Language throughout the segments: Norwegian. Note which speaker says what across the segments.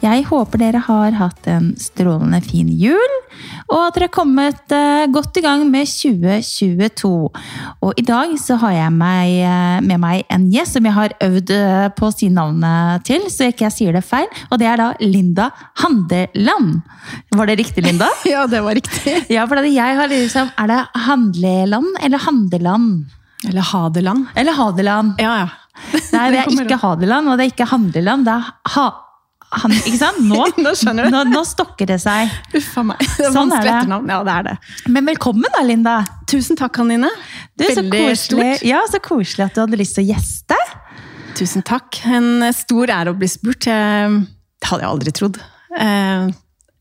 Speaker 1: Jeg håper dere har hatt en strålende fin jul, og at dere har kommet eh, godt i gang med 2022. Og i dag så har jeg meg, eh, med meg en gjest som jeg har øvd eh, på å si navnet til, så ikke jeg sier det feil, og det er da Linda Handeland. Var det riktig, Linda?
Speaker 2: Ja, det var riktig.
Speaker 1: Ja, for det jeg har liksom, Er det handleland eller handeland?
Speaker 2: Eller Hadeland.
Speaker 1: Eller hadeland?
Speaker 2: Ja, ja.
Speaker 1: Nei, det er
Speaker 2: kommer
Speaker 1: ikke hadeland, og det er ikke handleland. Det er ha... Han, ikke sant? Nå,
Speaker 2: Nå skjønner du.
Speaker 1: Nå, nå stokker det seg.
Speaker 2: Uff a meg. Det er
Speaker 1: Sånn er
Speaker 2: vanskelig
Speaker 1: det.
Speaker 2: etternavn. Ja, det er det.
Speaker 1: Men velkommen da, Linda.
Speaker 2: Tusen takk, Anine.
Speaker 1: Du, så koselig, ja, så koselig at du hadde lyst til å gjeste.
Speaker 2: stort. Tusen takk. En eh, stor ære å bli spurt. Jeg, det hadde jeg aldri trodd. Eh,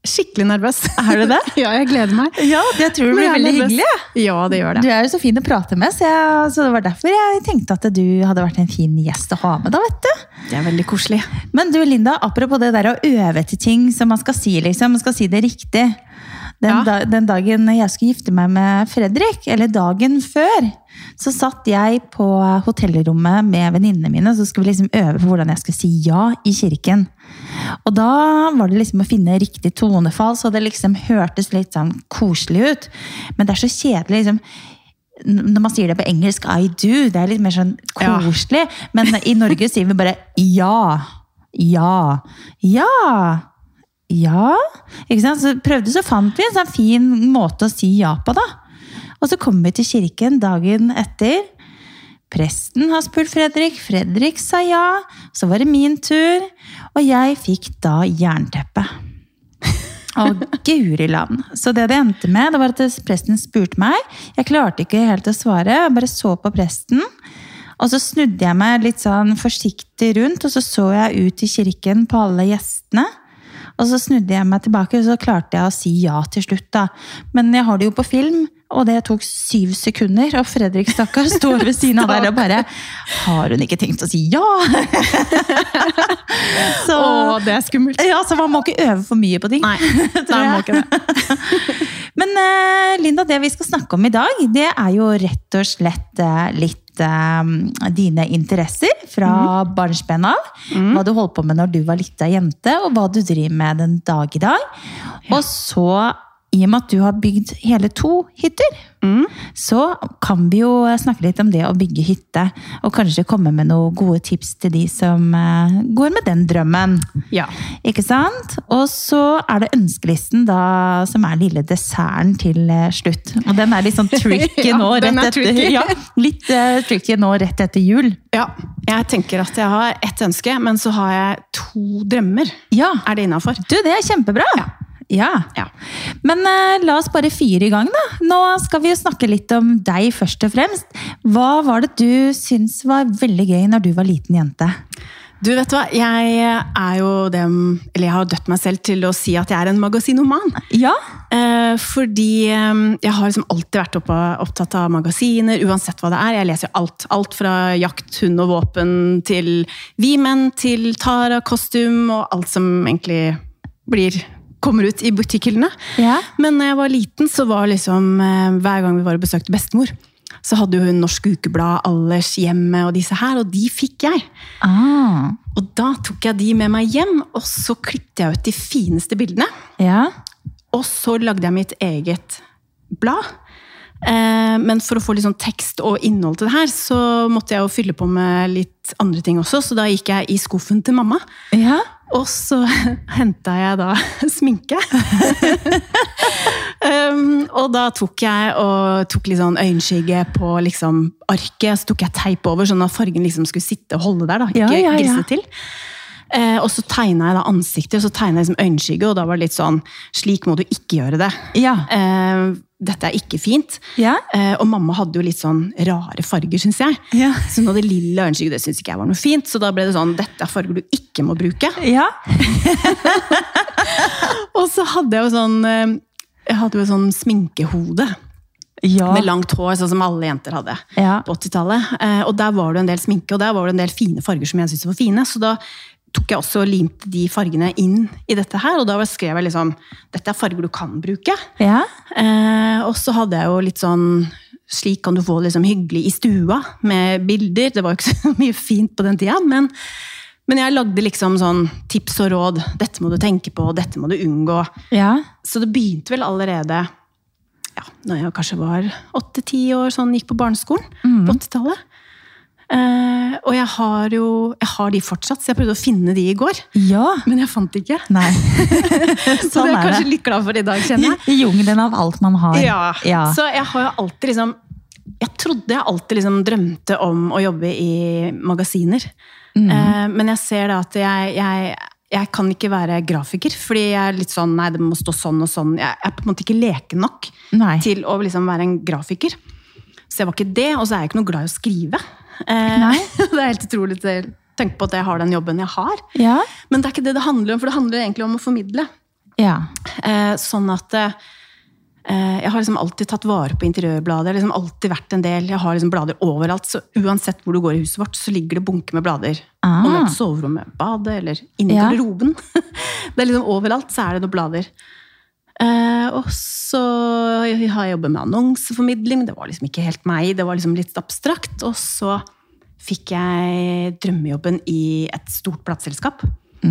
Speaker 2: Skikkelig nervøs.
Speaker 1: Er du det?
Speaker 2: ja, jeg gleder meg.
Speaker 1: Ja, det tror jeg blir
Speaker 2: Jeg er
Speaker 1: veldig
Speaker 2: nervøs.
Speaker 1: hyggelig. jeg.
Speaker 2: Ja, det gjør
Speaker 1: Du
Speaker 2: det.
Speaker 1: er jo så fin å prate med, så, jeg, så det var derfor jeg tenkte at du hadde vært en fin gjest å ha med. da, vet du.
Speaker 2: Det er veldig koselig.
Speaker 1: Men du, Linda, apropos det der å øve til ting som man skal si, liksom. Man skal si det riktig. Den,
Speaker 2: Ja.
Speaker 1: da, den dagen jeg skulle gifte meg med Fredrik, eller dagen før, så satt jeg på hotellrommet med venninnene mine, så skulle vi liksom øve på hvordan jeg skulle si ja i kirken. Og da var det liksom å finne riktig tonefall, så det liksom hørtes litt sånn koselig ut. Men det er så kjedelig, liksom. N- Når man sier det på engelsk, I do, det er litt mer sånn
Speaker 2: Ja.
Speaker 1: koselig. Men i Norge sier vi bare ja. Ja. Ja. Ja. Ikke sant? Så prøvde så fant vi en sånn fin måte å si ja på, da. Og så kom vi til kirken dagen etter. Presten har spurt Fredrik, Fredrik sa ja. Så var det min tur, og jeg fikk da jernteppe. Og guri land. Så det det endte med, det var at presten spurte meg. Jeg klarte ikke helt å svare, jeg bare så på presten. Og så snudde jeg meg litt sånn forsiktig rundt, og så så jeg ut i kirken på alle gjestene. Og så snudde jeg meg tilbake, og så klarte jeg å si ja til slutt. da. Men jeg har det jo på film, og det tok syv sekunder. Og Fredrik stakkar står ved siden av der og bare Har hun ikke tenkt å si ja? så,
Speaker 2: Å, det er skummelt.
Speaker 1: ja, så man må ikke øve for mye på ting.
Speaker 2: Nei, nei, må ikke det.
Speaker 1: Men eh, Linda, det vi skal snakke om i dag, det er jo rett og slett eh, litt eh, dine interesser fra barnsben av. Hva du holdt på med når du var lita jente, og hva du driver med den dag i dag. Og så, i og med at du har bygd hele to hytter,
Speaker 2: Mm.
Speaker 1: så kan vi jo snakke litt om det å bygge hytte. Og kanskje komme med noen gode tips til de som eh, går med den drømmen.
Speaker 2: Ja.
Speaker 1: Ikke sant? Og så er det ønskelisten da, som er lille desserten til eh, slutt. Og den er litt sånn tricky
Speaker 2: Ja,
Speaker 1: nå rett
Speaker 2: den er
Speaker 1: etter
Speaker 2: tricky.
Speaker 1: ja, Litt eh, tricky nå rett etter jul.
Speaker 2: ja. Jeg tenker at jeg har ett ønske, men så har jeg to drømmer.
Speaker 1: Ja.
Speaker 2: Er det innafor?
Speaker 1: Du, det er kjempebra! Ja.
Speaker 2: Ja.
Speaker 1: Men eh, la oss bare fyre i gang, da. Nå skal vi jo snakke litt om deg først og fremst. Hva var det du syns var veldig gøy når du var liten jente?
Speaker 2: Du vet du hva, jeg er jo dem, eller jeg har dødt meg selv til å si at jeg er en magasinoman.
Speaker 1: Ja?
Speaker 2: Eh, fordi eh, jeg har liksom alltid vært oppa, opptatt av magasiner, uansett hva det er. Jeg leser jo alt. Alt fra jakt, hund og våpen til vi menn, til Tara, kostyme og alt som egentlig blir, kommer ut i butikkhyllene.
Speaker 1: Ja.
Speaker 2: Men når jeg var liten, så var liksom eh, hver gang vi var og besøkte bestemor, så hadde jo hun Norsk Ukeblad, Allers, Hjemmet og disse her, og de fikk jeg.
Speaker 1: Ah.
Speaker 2: Og da tok jeg de med meg hjem, og så klippet jeg ut de fineste bildene.
Speaker 1: Ja.
Speaker 2: Og så lagde jeg mitt eget blad. Eh, Men for å få litt sånn tekst og innhold til det her, så måtte jeg jo fylle på med litt andre ting også, så da gikk jeg i skuffen til mamma.
Speaker 1: Ja.
Speaker 2: Og så henta jeg da sminke. um, og da tok jeg og tok litt sånn øyenskygge på liksom arket, så tok jeg teip over, sånn at fargen liksom skulle sitte og holde der. da,
Speaker 1: Ja,
Speaker 2: ikke
Speaker 1: ja, ja.
Speaker 2: grise til. Eh, og så tegna jeg da ansiktet og så tegnet jeg liksom øyenskygge, og da var det litt sånn Slik må du ikke gjøre det.
Speaker 1: Ja.
Speaker 2: Eh, dette er ikke fint.
Speaker 1: Ja.
Speaker 2: Eh, og mamma hadde jo litt sånn rare farger, syns jeg.
Speaker 1: Ja.
Speaker 2: Så hun hadde lilla øyenskygge, det syns ikke jeg var noe fint. Så da ble det sånn, dette er farger du ikke må bruke.
Speaker 1: Ja.
Speaker 2: Og så hadde jeg jo sånn eh, Jeg hadde jo sånn sminkehode
Speaker 1: Ja.
Speaker 2: med langt hår, sånn som alle jenter hadde
Speaker 1: Ja.
Speaker 2: på 80-tallet. Eh, Og der var det jo en del sminke, og der var det en del fine farger som jeg syntes var fine. Så da tok jeg også og limte de fargene inn i dette her. Og da var- skrev jeg liksom Dette er farger du kan bruke.
Speaker 1: Ja.
Speaker 2: Eh, og så hadde jeg jo litt sånn Slik kan du få det liksom hyggelig i stua med bilder. Det var jo ikke så mye fint på den tida, men, men jeg lagde liksom sånn tips og råd. Dette må du tenke på, dette må du unngå.
Speaker 1: ja.
Speaker 2: Så det begynte vel allerede ja, når jeg kanskje var åtte-ti år, sånn gikk på barneskolen
Speaker 1: Mhm.
Speaker 2: på 80-tallet. Eh, og jeg har jo jeg har de fortsatt, så jeg prøvde å finne de i går.
Speaker 1: Ja.
Speaker 2: Men jeg fant de ikke.
Speaker 1: Nei.
Speaker 2: Så det
Speaker 1: sånn
Speaker 2: er jeg
Speaker 1: er
Speaker 2: kanskje
Speaker 1: det.
Speaker 2: litt glad for i dag,
Speaker 1: I,
Speaker 2: kjenner jeg.
Speaker 1: I jungelen av alt man har.
Speaker 2: Ja.
Speaker 1: ja.
Speaker 2: Så jeg har jo alltid liksom Jeg trodde jeg alltid liksom drømte om å jobbe i magasiner.
Speaker 1: Mhm.
Speaker 2: Eh, men jeg ser da at jeg, jeg jeg kan ikke være grafiker, fordi jeg er litt sånn Nei, det må stå sånn og sånn. Jeg er på en måte ikke leken nok
Speaker 1: Nei.
Speaker 2: til å liksom være en grafiker. Så jeg var ikke det, og så er jeg ikke noe glad i å skrive. Eh,
Speaker 1: Nei.
Speaker 2: det er helt utrolig å tenke på at jeg har den jobben jeg har.
Speaker 1: Ja.
Speaker 2: Men det er ikke det det handler om, for det handler egentlig om å formidle.
Speaker 1: Ja.
Speaker 2: Eh, sånn at eh, jeg har liksom alltid tatt vare på interiørblader. Jeg har liksom alltid vært en del, jeg har liksom blader overalt, så uansett hvor du går i huset vårt, så ligger det bunker med blader.
Speaker 1: Ah.
Speaker 2: Om det er på soverommet, badet eller inni
Speaker 1: Ja.
Speaker 2: garderoben. det er liksom overalt så er det noen blader. Eh, og så har jeg jobbet med annonseformidling, det var liksom ikke helt meg, det var liksom litt abstrakt. Og så fikk jeg drømmejobben i et stort plateselskap.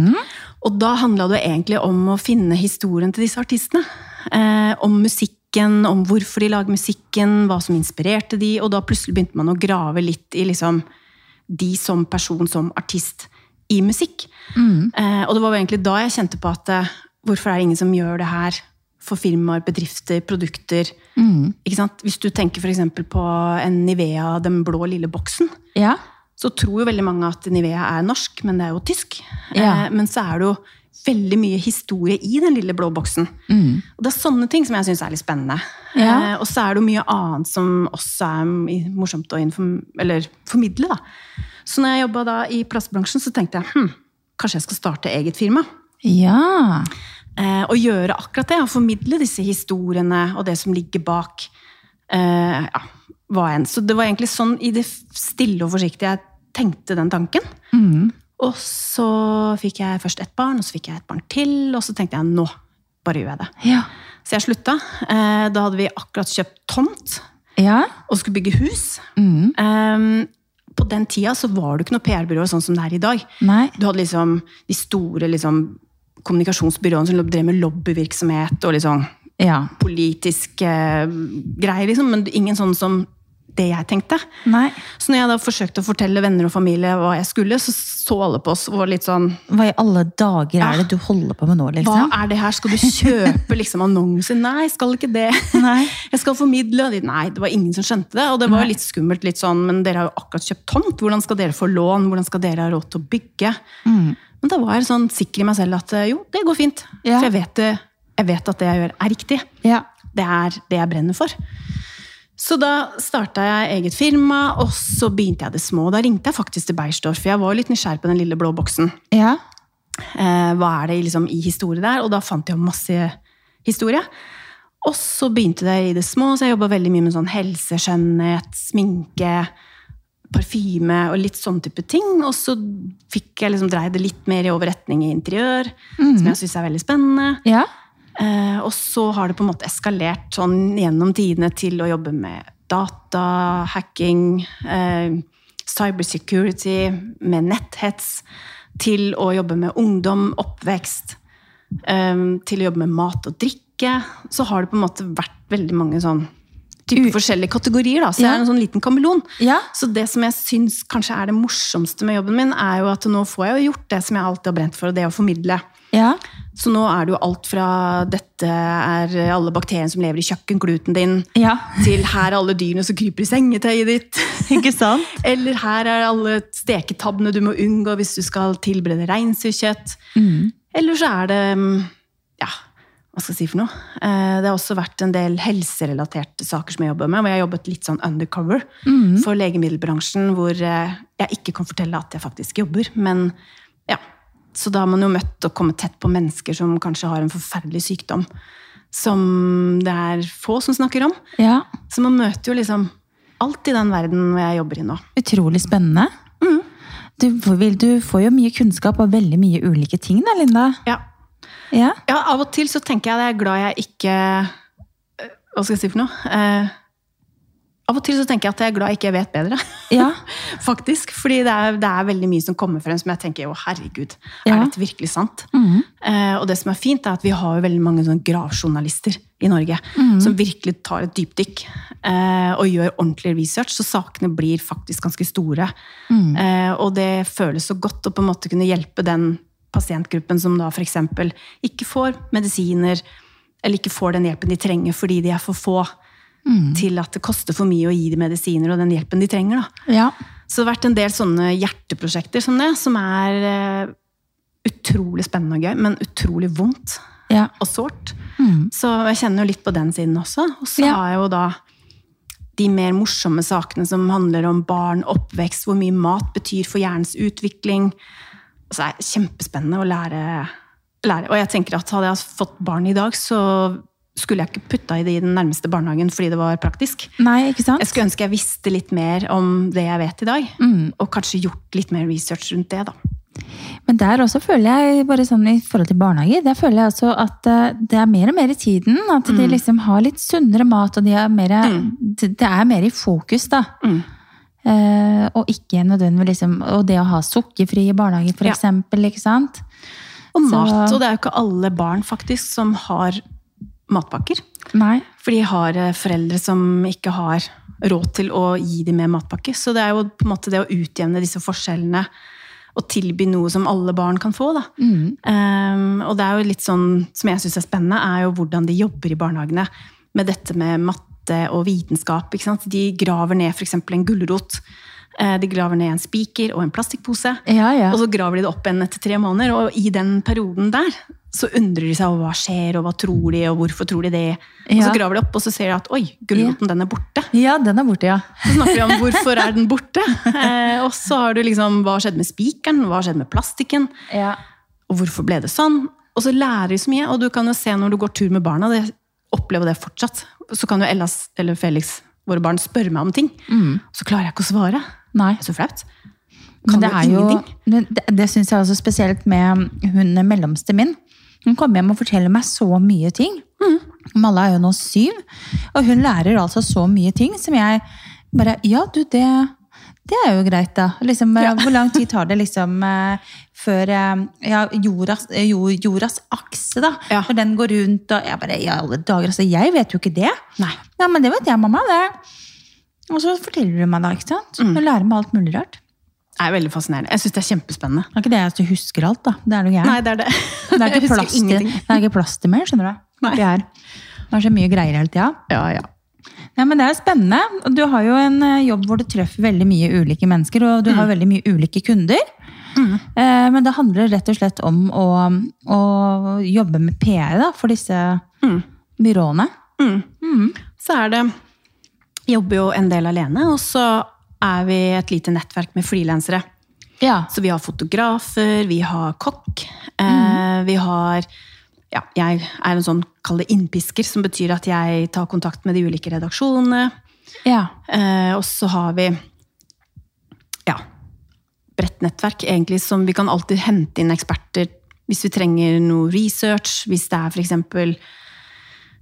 Speaker 2: Og da handla det egentlig om å finne historien til disse artistene. Eh, om musikken, om hvorfor de lager musikken, hva som inspirerte de, og da plutselig begynte man å grave litt i liksom de som person, som artist, i musikk. Eh, og det var jo egentlig da jeg kjente på at eh, hvorfor er det ingen som gjør det her for firmaer, bedrifter, produkter? Ikke sant? Hvis du tenker f.eks. på en Nivea, den blå lille boksen
Speaker 1: Ja.
Speaker 2: så tror jo veldig mange at Nivea er norsk, men det er jo tysk.
Speaker 1: Ja.
Speaker 2: Eh, men så er det jo veldig mye historie i den lille blå boksen. Og det er sånne ting som jeg syns er litt spennende.
Speaker 1: Mm. Ja.
Speaker 2: Eh, og så er det jo mye annet som også er m- morsomt å inform eller formidle, da. Så når jeg jobba da i plastbransjen, så tenkte jeg hm, kanskje jeg skal starte eget firma.
Speaker 1: Ja.
Speaker 2: Eh, og gjøre akkurat det, og formidle disse historiene og det som ligger bak. Eh, ja, hva enn. Så det var egentlig sånn i det stille og forsiktige jeg tenkte den tanken. Og så fikk jeg først ett barn, og så fikk jeg et barn til, og så tenkte jeg nå bare gjør jeg det.
Speaker 1: Ja.
Speaker 2: Så jeg slutta. Eh, da hadde vi akkurat kjøpt tomt
Speaker 1: Ja.
Speaker 2: og skulle bygge hus. Eh, på den tida så var det jo ikke noe PR-byrå sånn som det er i dag.
Speaker 1: Nei.
Speaker 2: Du hadde liksom de store liksom, kommunikasjonsbyråene som drev med lobbyvirksomhet og liksom
Speaker 1: Ja.
Speaker 2: politiske eh, greier, liksom, men ingen sånn som det jeg tenkte.
Speaker 1: Nei.
Speaker 2: Så når jeg da forsøkte å fortelle venner og familie hva jeg skulle, så så alle på oss og var litt sånn
Speaker 1: Hva i alle dager er det du holder på med nå,
Speaker 2: Hva
Speaker 1: liksom?
Speaker 2: er det her? Skal du kjøpe liksom annonser? Nei, jeg skal ikke det.
Speaker 1: Nei.
Speaker 2: Jeg skal formidle. Og de, Nei, det var ingen som skjønte det. Og det var jo litt skummelt, litt sånn, men dere har jo akkurat kjøpt tomt. Hvordan skal dere få lån? Hvordan skal dere ha råd til å bygge? Men da var jeg sånn sikker i meg selv at eh, jo, det går fint.
Speaker 1: Ja.
Speaker 2: For jeg vet, det- jeg vet at det jeg gjør, er riktig.
Speaker 1: Ja.
Speaker 2: Det er det jeg brenner for. Så da starta jeg eget firma, og så begynte jeg det små. Da ringte jeg faktisk til Beiersdorf, for jeg var jo litt nysgjerrig på den lille blå boksen.
Speaker 1: Ja.
Speaker 2: Eh, hva er det liksom i historie der? Og da fant jeg jo masse historie. Og så begynte det i det små, så jeg jobba veldig mye med sånn helse, skjønnhet, sminke, parfyme og litt sånn type ting. Og så fikk jeg liksom dreid det litt mer i overretning i interiør, som jeg syns er veldig spennende.
Speaker 1: Ja.
Speaker 2: Eh, og så har det på en måte eskalert sånn gjennom tidene til å jobbe med data, hacking, eh, cybersecurity, med netthets, til å jobbe med ungdom, oppvekst, eh, til å jobbe med mat og drikke. Så har det på en måte vært veldig mange sånn type forskjellige kategorier. Da. Så jeg
Speaker 1: Ja.
Speaker 2: er en sånn liten kameleon.
Speaker 1: Ja.
Speaker 2: Så det som jeg syns kanskje er det morsomste med jobben min, er jo at nå får jeg jo gjort det som jeg alltid har brent for, og det å formidle.
Speaker 1: Ja.
Speaker 2: Så nå er det jo alt fra dette er alle bakteriene som lever i kjøkkengluten din,
Speaker 1: Ja.
Speaker 2: til her er alle dyrene som kryper i sengetøyet ditt.
Speaker 1: Ikke sant?
Speaker 2: Eller her er alle steketabbene du må unngå hvis du skal tilberede reinsdyrkjøtt. Eller så er det mm, Ja, hva skal jeg si for noe? Eh, Det har også vært en del helserelaterte saker som jeg jobber med. Hvor jeg har jobbet litt sånn undercover for legemiddelbransjen. Hvor eh, jeg ikke kan fortelle at jeg faktisk jobber, men ja. Så da har man jo møtt og kommet tett på mennesker som kanskje har en forferdelig sykdom. Som det er få som snakker om.
Speaker 1: Ja.
Speaker 2: Så man møter jo liksom alt i den verden hvor jeg jobber i nå.
Speaker 1: Utrolig spennende. Du, får- vil, du får jo mye kunnskap av veldig mye ulike ting da, Linda.
Speaker 2: Ja.
Speaker 1: Ja.
Speaker 2: ja, av og til så tenker jeg at jeg er glad jeg ikke eh, Hva skal jeg si for noe? Eh, av og til så tenker jeg at jeg er glad jeg ikke vet bedre.
Speaker 1: ja.
Speaker 2: Faktisk. Fordi det er, det er veldig mye som kommer frem som jeg tenker å herregud,
Speaker 1: Ja.
Speaker 2: er dette virkelig sant?
Speaker 1: Mhm.
Speaker 2: Eh, og det som er fint, er at vi har jo veldig mange sånne gravjournalister i Norge
Speaker 1: Mhm.
Speaker 2: som virkelig tar et dypdykk eh, og gjør ordentlig research, så sakene blir faktisk ganske store.
Speaker 1: Mhm.
Speaker 2: Eh, og det føles så godt å på en måte kunne hjelpe den pasientgruppen som da f.eks. ikke får medisiner, eller ikke får den hjelpen de trenger fordi de er for få.
Speaker 1: Mhm.
Speaker 2: Til at det koster for mye å gi de medisiner og den hjelpen de trenger. da.
Speaker 1: ja.
Speaker 2: Så det har vært en del sånne hjerteprosjekter som det, som er eh, utrolig spennende og gøy, men utrolig vondt
Speaker 1: Ja.
Speaker 2: og sårt.
Speaker 1: Mm.
Speaker 2: Så jeg kjenner jo litt på den siden også. Og så
Speaker 1: Ja.
Speaker 2: har jeg jo da de mer morsomme sakene som handler om barn, oppvekst, hvor mye mat betyr for hjernens utvikling. Og Så er det kjempespennende å lære, lære. Og jeg tenker at hadde jeg fått barn i dag, så skulle jeg ikke putta i det i den nærmeste barnehagen fordi det var praktisk.
Speaker 1: Nei, ikke sant?
Speaker 2: Jeg skulle ønske jeg visste litt mer om det jeg vet i dag. Og kanskje gjort litt mer research rundt det, da.
Speaker 1: Men der også føler jeg, bare sånn i forhold til barnehager, der føler jeg også at eh, det er mer og mer i tiden. At
Speaker 2: Mm.
Speaker 1: de liksom har litt sunnere mat, og de er mer, det det er mer i fokus, da.
Speaker 2: Mm.
Speaker 1: Eh, og ikke nødvendigvis liksom, Og det å ha sukkerfrie barnehager, for
Speaker 2: Ja.
Speaker 1: eksempel. Ikke sant?
Speaker 2: Og
Speaker 1: Så-
Speaker 2: mat. Og det er jo ikke alle barn faktisk som har matpakker.
Speaker 1: Nei.
Speaker 2: For de har eh, foreldre som ikke har råd til å gi dem med matpakke. Så det er jo på en måte det å utjevne disse forskjellene og tilby noe som alle barn kan få. Da. Um, og det er jo litt sånn som jeg syns er spennende, er jo hvordan de jobber i barnehagene med dette med matte og vitenskap. Ikke sant? De graver ned f.eks. en gulrot. Eh, De graver ned en spiker og en plastikkpose.
Speaker 1: Ja, ja.
Speaker 2: Og så graver de det opp igjen etter tre måneder, og i den perioden der så undrer de seg over hva skjer, og hva tror de, og hvorfor tror de det. Og
Speaker 1: Ja.
Speaker 2: så graver de opp, og så ser de at oi, gulroten den er borte.
Speaker 1: ja, den er borte, ja.
Speaker 2: Så snakker de om hvorfor er den borte. Eh, og så har du liksom hva skjedde med spikeren, hva skjedde med plastikken,
Speaker 1: ja.
Speaker 2: og hvorfor ble det sånn? Og så lærer de så mye, og du kan jo se når du går tur med barna, det, oppleve det fortsatt. Så kan jo Ellas eller Felix, våre barn, spørre meg om ting. Så klarer jeg ikke å svare.
Speaker 1: Nei.
Speaker 2: Det er så flaut.
Speaker 1: Mm. Men
Speaker 2: Kan
Speaker 1: det
Speaker 2: jo
Speaker 1: er jo
Speaker 2: ingenting.
Speaker 1: men Det, det syns jeg også spesielt med hun eh, mellomste min. Hun kommer hjem og forteller meg så mye ting.
Speaker 2: Mm.
Speaker 1: Malla er jo nå syv, og hun lærer altså så mye ting som jeg bare Ja, du, det, det er jo greit, da. Liksom, eh, Hvor lang tid tar det liksom eh, før eh, ja, jordas, eh, jord, jordas akse, da?
Speaker 2: Ja.
Speaker 1: Når den går rundt og Jeg bare I alle dager, altså. Jeg vet jo ikke det.
Speaker 2: Nei.
Speaker 1: Ja, men det vet jeg, mamma. det. Og så forteller hun meg da, ikke sant?
Speaker 2: Mm.
Speaker 1: Hun lærer meg alt mulig rart.
Speaker 2: Det er veldig fascinerende. Jeg syns det er kjempespennende.
Speaker 1: Det er ikke det at du husker alt, da. Det er noe gærent.
Speaker 2: Nei, det er det.
Speaker 1: Det er
Speaker 2: Jeg
Speaker 1: ikke
Speaker 2: husker
Speaker 1: plass til,
Speaker 2: ingenting.
Speaker 1: det er ikke plass til mer, skjønner du.
Speaker 2: Nei.
Speaker 1: Det er, det er så mye greier hele tida.
Speaker 2: Ja, ja.
Speaker 1: Ja, men det er spennende. Og Du har jo en eh, jobb hvor du treffer veldig mye ulike mennesker, og du
Speaker 2: Mm.
Speaker 1: har veldig mye ulike kunder. Eh, Men det handler rett og slett om å, å jobbe med PR da, for disse
Speaker 2: Mm.
Speaker 1: byråene.
Speaker 2: Så er det jeg Jobber jo en del alene, og så er vi et lite nettverk med frilansere.
Speaker 1: Ja.
Speaker 2: Så vi har fotografer, vi har kokk, eh, vi har ja, Jeg er en sånn kall det innpisker, som betyr at jeg tar kontakt med de ulike redaksjonene.
Speaker 1: ja.
Speaker 2: Eh, og så har vi ja, bredt nettverk, egentlig, som vi kan alltid hente inn eksperter hvis vi trenger noe research, hvis det er f.eks.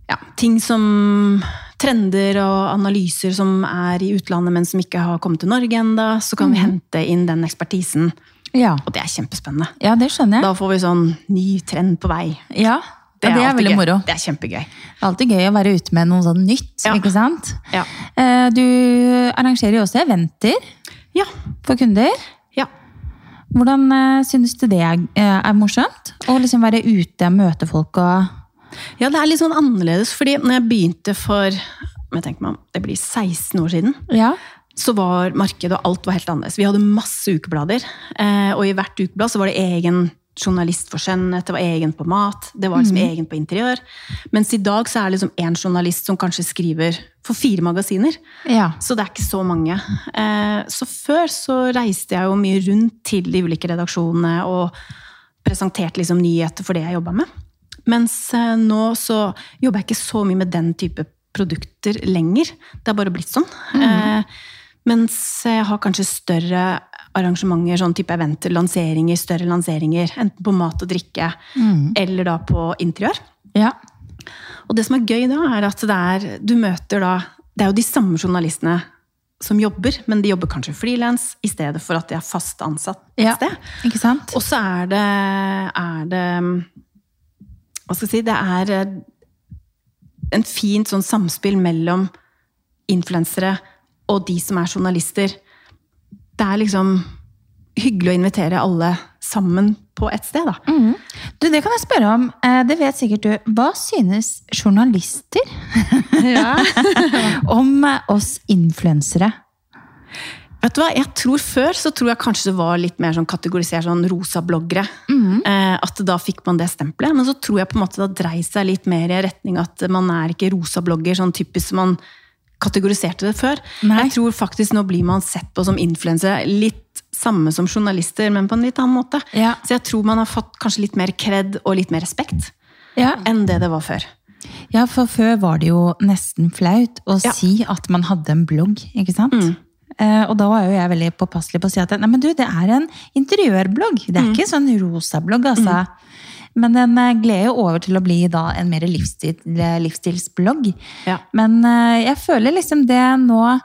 Speaker 2: Ja, ting som trender og analyser som er i utlandet, men som ikke har kommet til Norge enda, så kan vi
Speaker 1: Mm.
Speaker 2: hente inn den ekspertisen.
Speaker 1: Ja.
Speaker 2: Og det er kjempespennende.
Speaker 1: ja, det skjønner jeg.
Speaker 2: Da får vi sånn ny trend på vei.
Speaker 1: Ja, det, ja, det er
Speaker 2: alltid
Speaker 1: veldig
Speaker 2: gøy.
Speaker 1: moro.
Speaker 2: Det er kjempegøy.
Speaker 1: Det er alltid gøy å være ute med noe sånn nytt,
Speaker 2: Ja.
Speaker 1: ikke sant?
Speaker 2: Ja.
Speaker 1: Eh, Du arrangerer jo også eventer
Speaker 2: Ja.
Speaker 1: for kunder.
Speaker 2: ja.
Speaker 1: Hvordan eh, synes du det er, eh, er morsomt? Å liksom være ute og møte folk og
Speaker 2: Ja, det er litt sånn annerledes, fordi når jeg begynte for jeg tenker meg om, det blir 16 år siden,
Speaker 1: Ja.
Speaker 2: så var markedet og alt var helt annerledes. Vi hadde masse ukeblader, eh, og i hvert ukeblad så var det egen journalist for skjønnhet, det var egen på mat, det var liksom egen på interiør. Mens i dag så er det liksom én journalist som kanskje skriver for fire magasiner.
Speaker 1: Ja.
Speaker 2: Så det er ikke så mange. Eh, Så før så reiste jeg jo mye rundt til de ulike redaksjonene og presenterte liksom nyheter for det jeg jobba med. Mens eh, nå så jobber jeg ikke så mye med den type produkter lenger. Det er bare blitt sånn. Eh, Mens jeg har kanskje større arrangementer, sånn type eventer, lanseringer, større lanseringer. Enten på mat og drikke, eller da på interiør.
Speaker 1: Ja.
Speaker 2: Og det som er gøy da, er at det er, du møter da Det er jo de samme journalistene som jobber, men de jobber kanskje frilans i stedet for at de er fast ansatt et
Speaker 1: ja.
Speaker 2: sted.
Speaker 1: Ikke sant?
Speaker 2: Og så er det, er det Hva skal jeg si Det er eh, en fint sånn samspill mellom influensere og de som er journalister. Det er liksom hyggelig å invitere alle sammen på ett sted, da.
Speaker 1: Du, det kan jeg spørre om. Eh, Det vet sikkert du. Hva synes journalister om eh, oss influensere?
Speaker 2: Vet du hva, jeg tror Før så tror jeg kanskje det var litt mer sånn kategorisert sånn rosa bloggere.
Speaker 1: Mhm.
Speaker 2: Eh, at da fikk man det stempelet. Men så tror jeg på en måte det har dreid seg litt mer i retning at man er ikke rosa blogger sånn typisk som man kategoriserte det før.
Speaker 1: Nei.
Speaker 2: Jeg tror faktisk nå blir man sett på som influensere. Litt samme som journalister, men på en litt annen måte.
Speaker 1: Ja.
Speaker 2: Så jeg tror man har fått kanskje litt mer kred og litt mer respekt
Speaker 1: Ja.
Speaker 2: enn det det var før.
Speaker 1: ja, for før var det jo nesten flaut å
Speaker 2: Ja. Mm.
Speaker 1: si at man hadde en blogg, ikke sant? Eh, Og da var jo jeg veldig påpasselig på å si at nei, men du, det er en interiørblogg. Det er
Speaker 2: Mm.
Speaker 1: ikke en sånn rosa blogg, altså. Men den eh, gled jo over til å bli da en mer livsstil, eh, livsstilsblogg.
Speaker 2: Ja.
Speaker 1: Men eh, jeg føler liksom det nå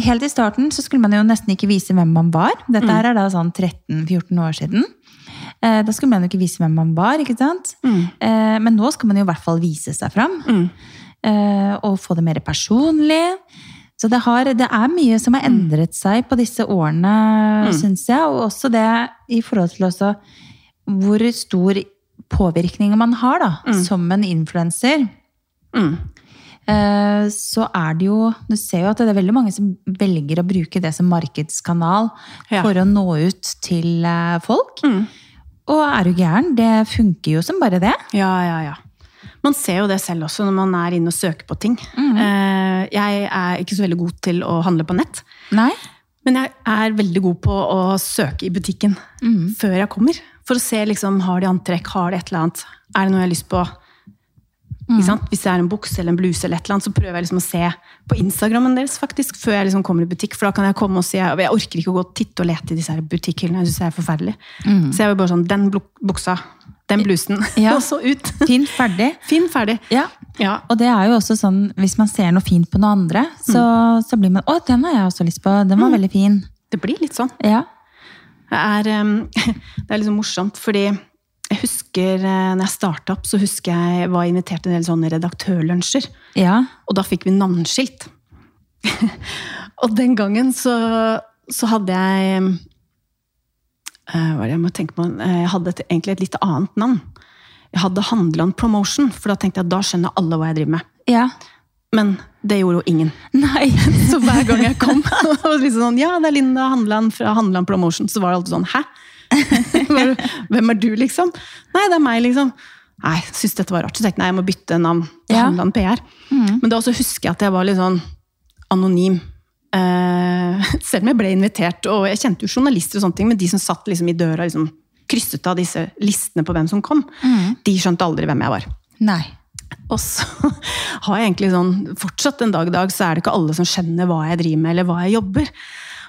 Speaker 1: Helt i starten så skulle man jo nesten ikke vise hvem man var. Dette
Speaker 2: Mm.
Speaker 1: her er da sånn 13-14 år siden. Eh, Da skulle man jo ikke vise hvem man var, ikke
Speaker 2: Mm.
Speaker 1: sant? Eh, Men nå skal man jo i hvert fall vise seg fram. eh, Og få det mer personlig. Så det, har, det er mye som har endret seg på disse årene, syns jeg. Og også det i forhold til også hvor stor påvirkning man har da, som en influenser.
Speaker 2: Mm.
Speaker 1: Eh, så er det jo Du ser jo at det er veldig mange som velger å bruke det som markedskanal
Speaker 2: Ja.
Speaker 1: for å nå ut til eh, folk. Og er du gæren? Det funker jo som bare det.
Speaker 2: Ja, ja, ja. Man ser jo det selv også når man er inne og søker på ting. Eh, Jeg er ikke så veldig god til å handle på nett,
Speaker 1: Nei?
Speaker 2: men jeg er veldig god på å søke i butikken før jeg kommer. For å se liksom, har de antrekk, har de et eller annet, er det noe jeg har lyst på? Ikke sant? Hvis det er en bukse eller en bluse, eller et eller annet, så prøver jeg liksom å se på Instagrammen deres faktisk, før jeg liksom kommer i butikk. For da kan jeg komme og si Jeg orker ikke å gå og titte og lete i disse her butikkhyllene. Jeg synes det er forferdelig. Så jeg var bare sånn Den bluk- buksa. Den blusen.
Speaker 1: Ja.
Speaker 2: og så ut.
Speaker 1: Fint, ferdig.
Speaker 2: Fin, ferdig.
Speaker 1: Ja.
Speaker 2: Ja.
Speaker 1: Og det er jo også sånn, hvis man ser noe fint på noen andre, så, så blir man Å, den har jeg også lyst på. Den var veldig fin.
Speaker 2: Det blir litt sånn.
Speaker 1: Ja.
Speaker 2: Det er, em, det er liksom morsomt, fordi jeg husker, eh, når jeg starta opp, så husker jeg var invitert til en del sånne redaktørlunsjer.
Speaker 1: Ja.
Speaker 2: Og da fikk vi navneskilt. og den gangen så, så hadde jeg em, eh, Hva er det jeg må tenke på? Eh, Jeg hadde et, egentlig et litt annet navn. Jeg hadde handla om promotion, for da tenkte jeg at da skjønner alle hva jeg driver med.
Speaker 1: Ja.
Speaker 2: Men det gjorde jo ingen.
Speaker 1: Nei.
Speaker 2: Så hver gang jeg kom og var liksom sånn, Ja, det er Linda Handeland fra Handeland Promotion. Så var det alltid sånn Hæ? Var du- Hvem er du, liksom? Nei, det er meg, liksom. Nei, jeg syntes dette var rart. Så tenkte jeg nei, jeg må bytte navn. til
Speaker 1: Ja.
Speaker 2: Handeland PR. Men da også husker jeg at jeg var litt sånn anonym. Eh, selv om jeg ble invitert, og jeg kjente jo journalister og sånne ting, men de som satt liksom i døra liksom krysset av disse listene på hvem som kom, de skjønte aldri hvem jeg var.
Speaker 1: Nei.
Speaker 2: Og så har jeg egentlig sånn, fortsatt en dag i dag, så er det ikke alle som skjønner hva jeg driver med, eller hva jeg jobber.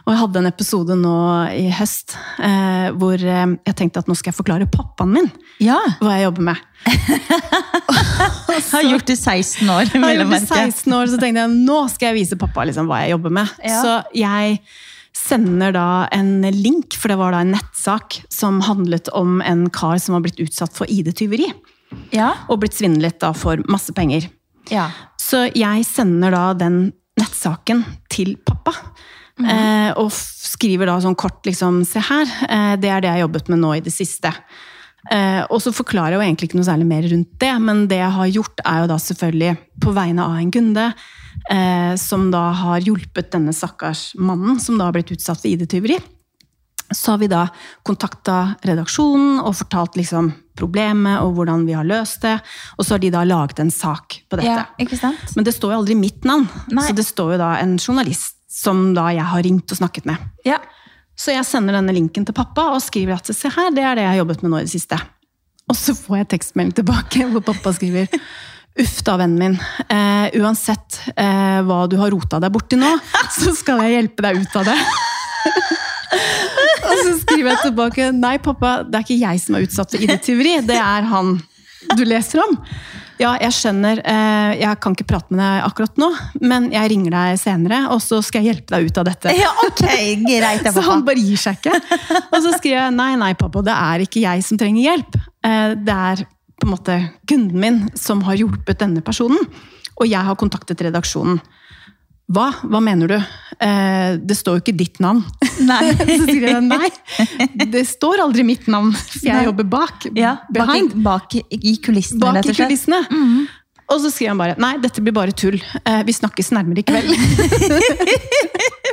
Speaker 2: Og jeg hadde en episode nå i høst eh, hvor eh, jeg tenkte at nå skal jeg forklare pappaen min
Speaker 1: Ja.
Speaker 2: hva jeg jobber med.
Speaker 1: Har gjort det 16 år,
Speaker 2: Da jeg
Speaker 1: vil jeg
Speaker 2: ble
Speaker 1: merke.
Speaker 2: 16 år, så tenkte jeg nå skal jeg vise pappa liksom, hva jeg jobber med.
Speaker 1: Ja.
Speaker 2: Så jeg sender da en link, for det var da en nettsak som handlet om en kar som var blitt utsatt for ID-tyveri.
Speaker 1: Ja.
Speaker 2: Og blitt svindlet da for masse penger.
Speaker 1: Ja.
Speaker 2: Så jeg sender da den nettsaken til pappa. eh, Og f- skriver da sånn kort liksom Se her, eh, det er det jeg har jobbet med nå i det siste. Eh, Og så forklarer jeg jo egentlig ikke noe særlig mer rundt det, men det jeg har gjort, er jo da selvfølgelig på vegne av en kunde. eh, Som da har hjulpet denne stakkars mannen som da har blitt utsatt for ID-tyveri så har vi da kontakta redaksjonen og fortalt liksom problemet og hvordan vi har løst det. Og så har de da laget en sak på dette.
Speaker 1: ja. Ikke sant?
Speaker 2: Men det står jo aldri mitt navn.
Speaker 1: Nei.
Speaker 2: Så det står jo da en journalist som da jeg har ringt og snakket med.
Speaker 1: Ja.
Speaker 2: Så jeg sender denne linken til pappa og skriver at se her, det er det jeg har jobbet med nå i det siste. Og så får jeg tekstmelding tilbake hvor pappa skriver Uff da, vennen min. Eh, uansett eh, hva du har rota deg borti nå, så skal jeg hjelpe deg ut av det. Og så skriver jeg tilbake Nei, pappa, det er ikke jeg som er utsatt for ID-tyveri. Det er han du leser om. Ja, jeg skjønner. eh, Jeg kan ikke prate med deg akkurat nå, men jeg ringer deg senere, og så skal jeg hjelpe deg ut av dette.
Speaker 1: Ja, Sånn. ok, greit. det,
Speaker 2: Så han
Speaker 1: pappa.
Speaker 2: bare gir seg ikke. Og så skriver jeg nei, nei, pappa, det er ikke jeg som trenger hjelp. Eh, Det er på en måte kunden min som har hjulpet denne personen. Og jeg har kontaktet redaksjonen. Hva? Hva mener du? Eh, Det står jo ikke ditt navn.
Speaker 1: Nei.
Speaker 2: Så sier jeg nei, det står aldri mitt navn, for
Speaker 1: Nei.
Speaker 2: jeg jobber bak.
Speaker 1: Ja, bak, i-
Speaker 2: behind.
Speaker 1: bak i- i kulissene,
Speaker 2: Bak
Speaker 1: rett
Speaker 2: i
Speaker 1: og slett. Mm-hmm.
Speaker 2: kulissene. Og så skriver han bare nei, dette blir bare tull. Eh, Vi snakkes nærmere i kveld.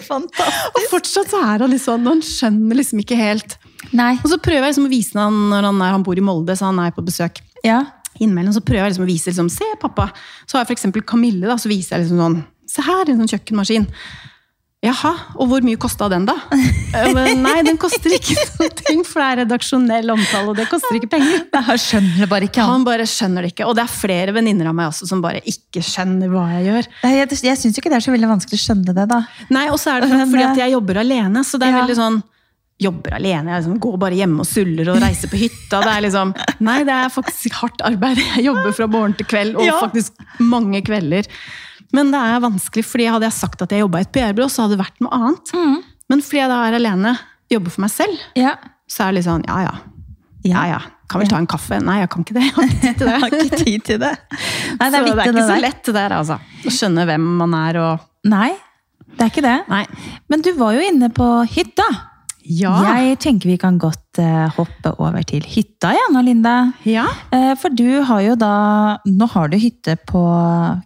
Speaker 1: Fantastisk.
Speaker 2: Og fortsatt så er han litt sånn, han skjønner liksom ikke helt.
Speaker 1: Nei.
Speaker 2: Og så prøver jeg liksom å vise han når han, er, han bor i Molde, så han er på besøk.
Speaker 1: Ja.
Speaker 2: Innimellom så prøver jeg liksom å vise liksom, se pappa. Så har jeg for eksempel Camille, da, så viser jeg liksom sånn, se her, en sånn kjøkkenmaskin. Jaha, og hvor mye kosta den da? Eh, men Nei, den koster ikke noen ting, for det er redaksjonell omtale, og det koster ikke penger.
Speaker 1: Nei, han skjønner det bare ikke. Han.
Speaker 2: Han bare skjønner det ikke, og det er flere venninner av meg også som bare ikke skjønner hva jeg gjør.
Speaker 1: Nei, Jeg, jeg syns jo ikke det er så veldig vanskelig å skjønne det, da.
Speaker 2: Nei, og så er det nok fordi at jeg jobber alene, så det er
Speaker 1: eh, Ja.
Speaker 2: veldig sånn Jobber alene, jeg liksom går bare hjemme og suller og reiser på hytta. Det er liksom, nei, det er faktisk hardt arbeid. Jeg jobber fra morgen til kveld, og
Speaker 1: Ja.
Speaker 2: faktisk mange kvelder. Men det er vanskelig, fordi hadde jeg sagt at jeg jobba i et PR-byrå, så hadde det vært noe annet.
Speaker 1: Mm.
Speaker 2: Men fordi jeg da er alene, jobber for meg selv,
Speaker 1: Ja.
Speaker 2: så er det litt sånn ja ja. Ja ja, kan vi ta en kaffe? Nei, jeg kan ikke det. Jeg har ikke
Speaker 1: Jeg har
Speaker 2: tid til det.
Speaker 1: ikke tid til det. Nei, det er
Speaker 2: så
Speaker 1: viktig,
Speaker 2: det er ikke
Speaker 1: det
Speaker 2: så
Speaker 1: der.
Speaker 2: lett det der, altså. Å skjønne hvem man er og
Speaker 1: Nei, det er ikke det.
Speaker 2: Nei.
Speaker 1: Men du var jo inne på hytta.
Speaker 2: Ja.
Speaker 1: Jeg tenker vi kan godt eh, hoppe over til hytta igjen, og Linda.
Speaker 2: ja.
Speaker 1: Eh, for du har jo da Nå har du hytte på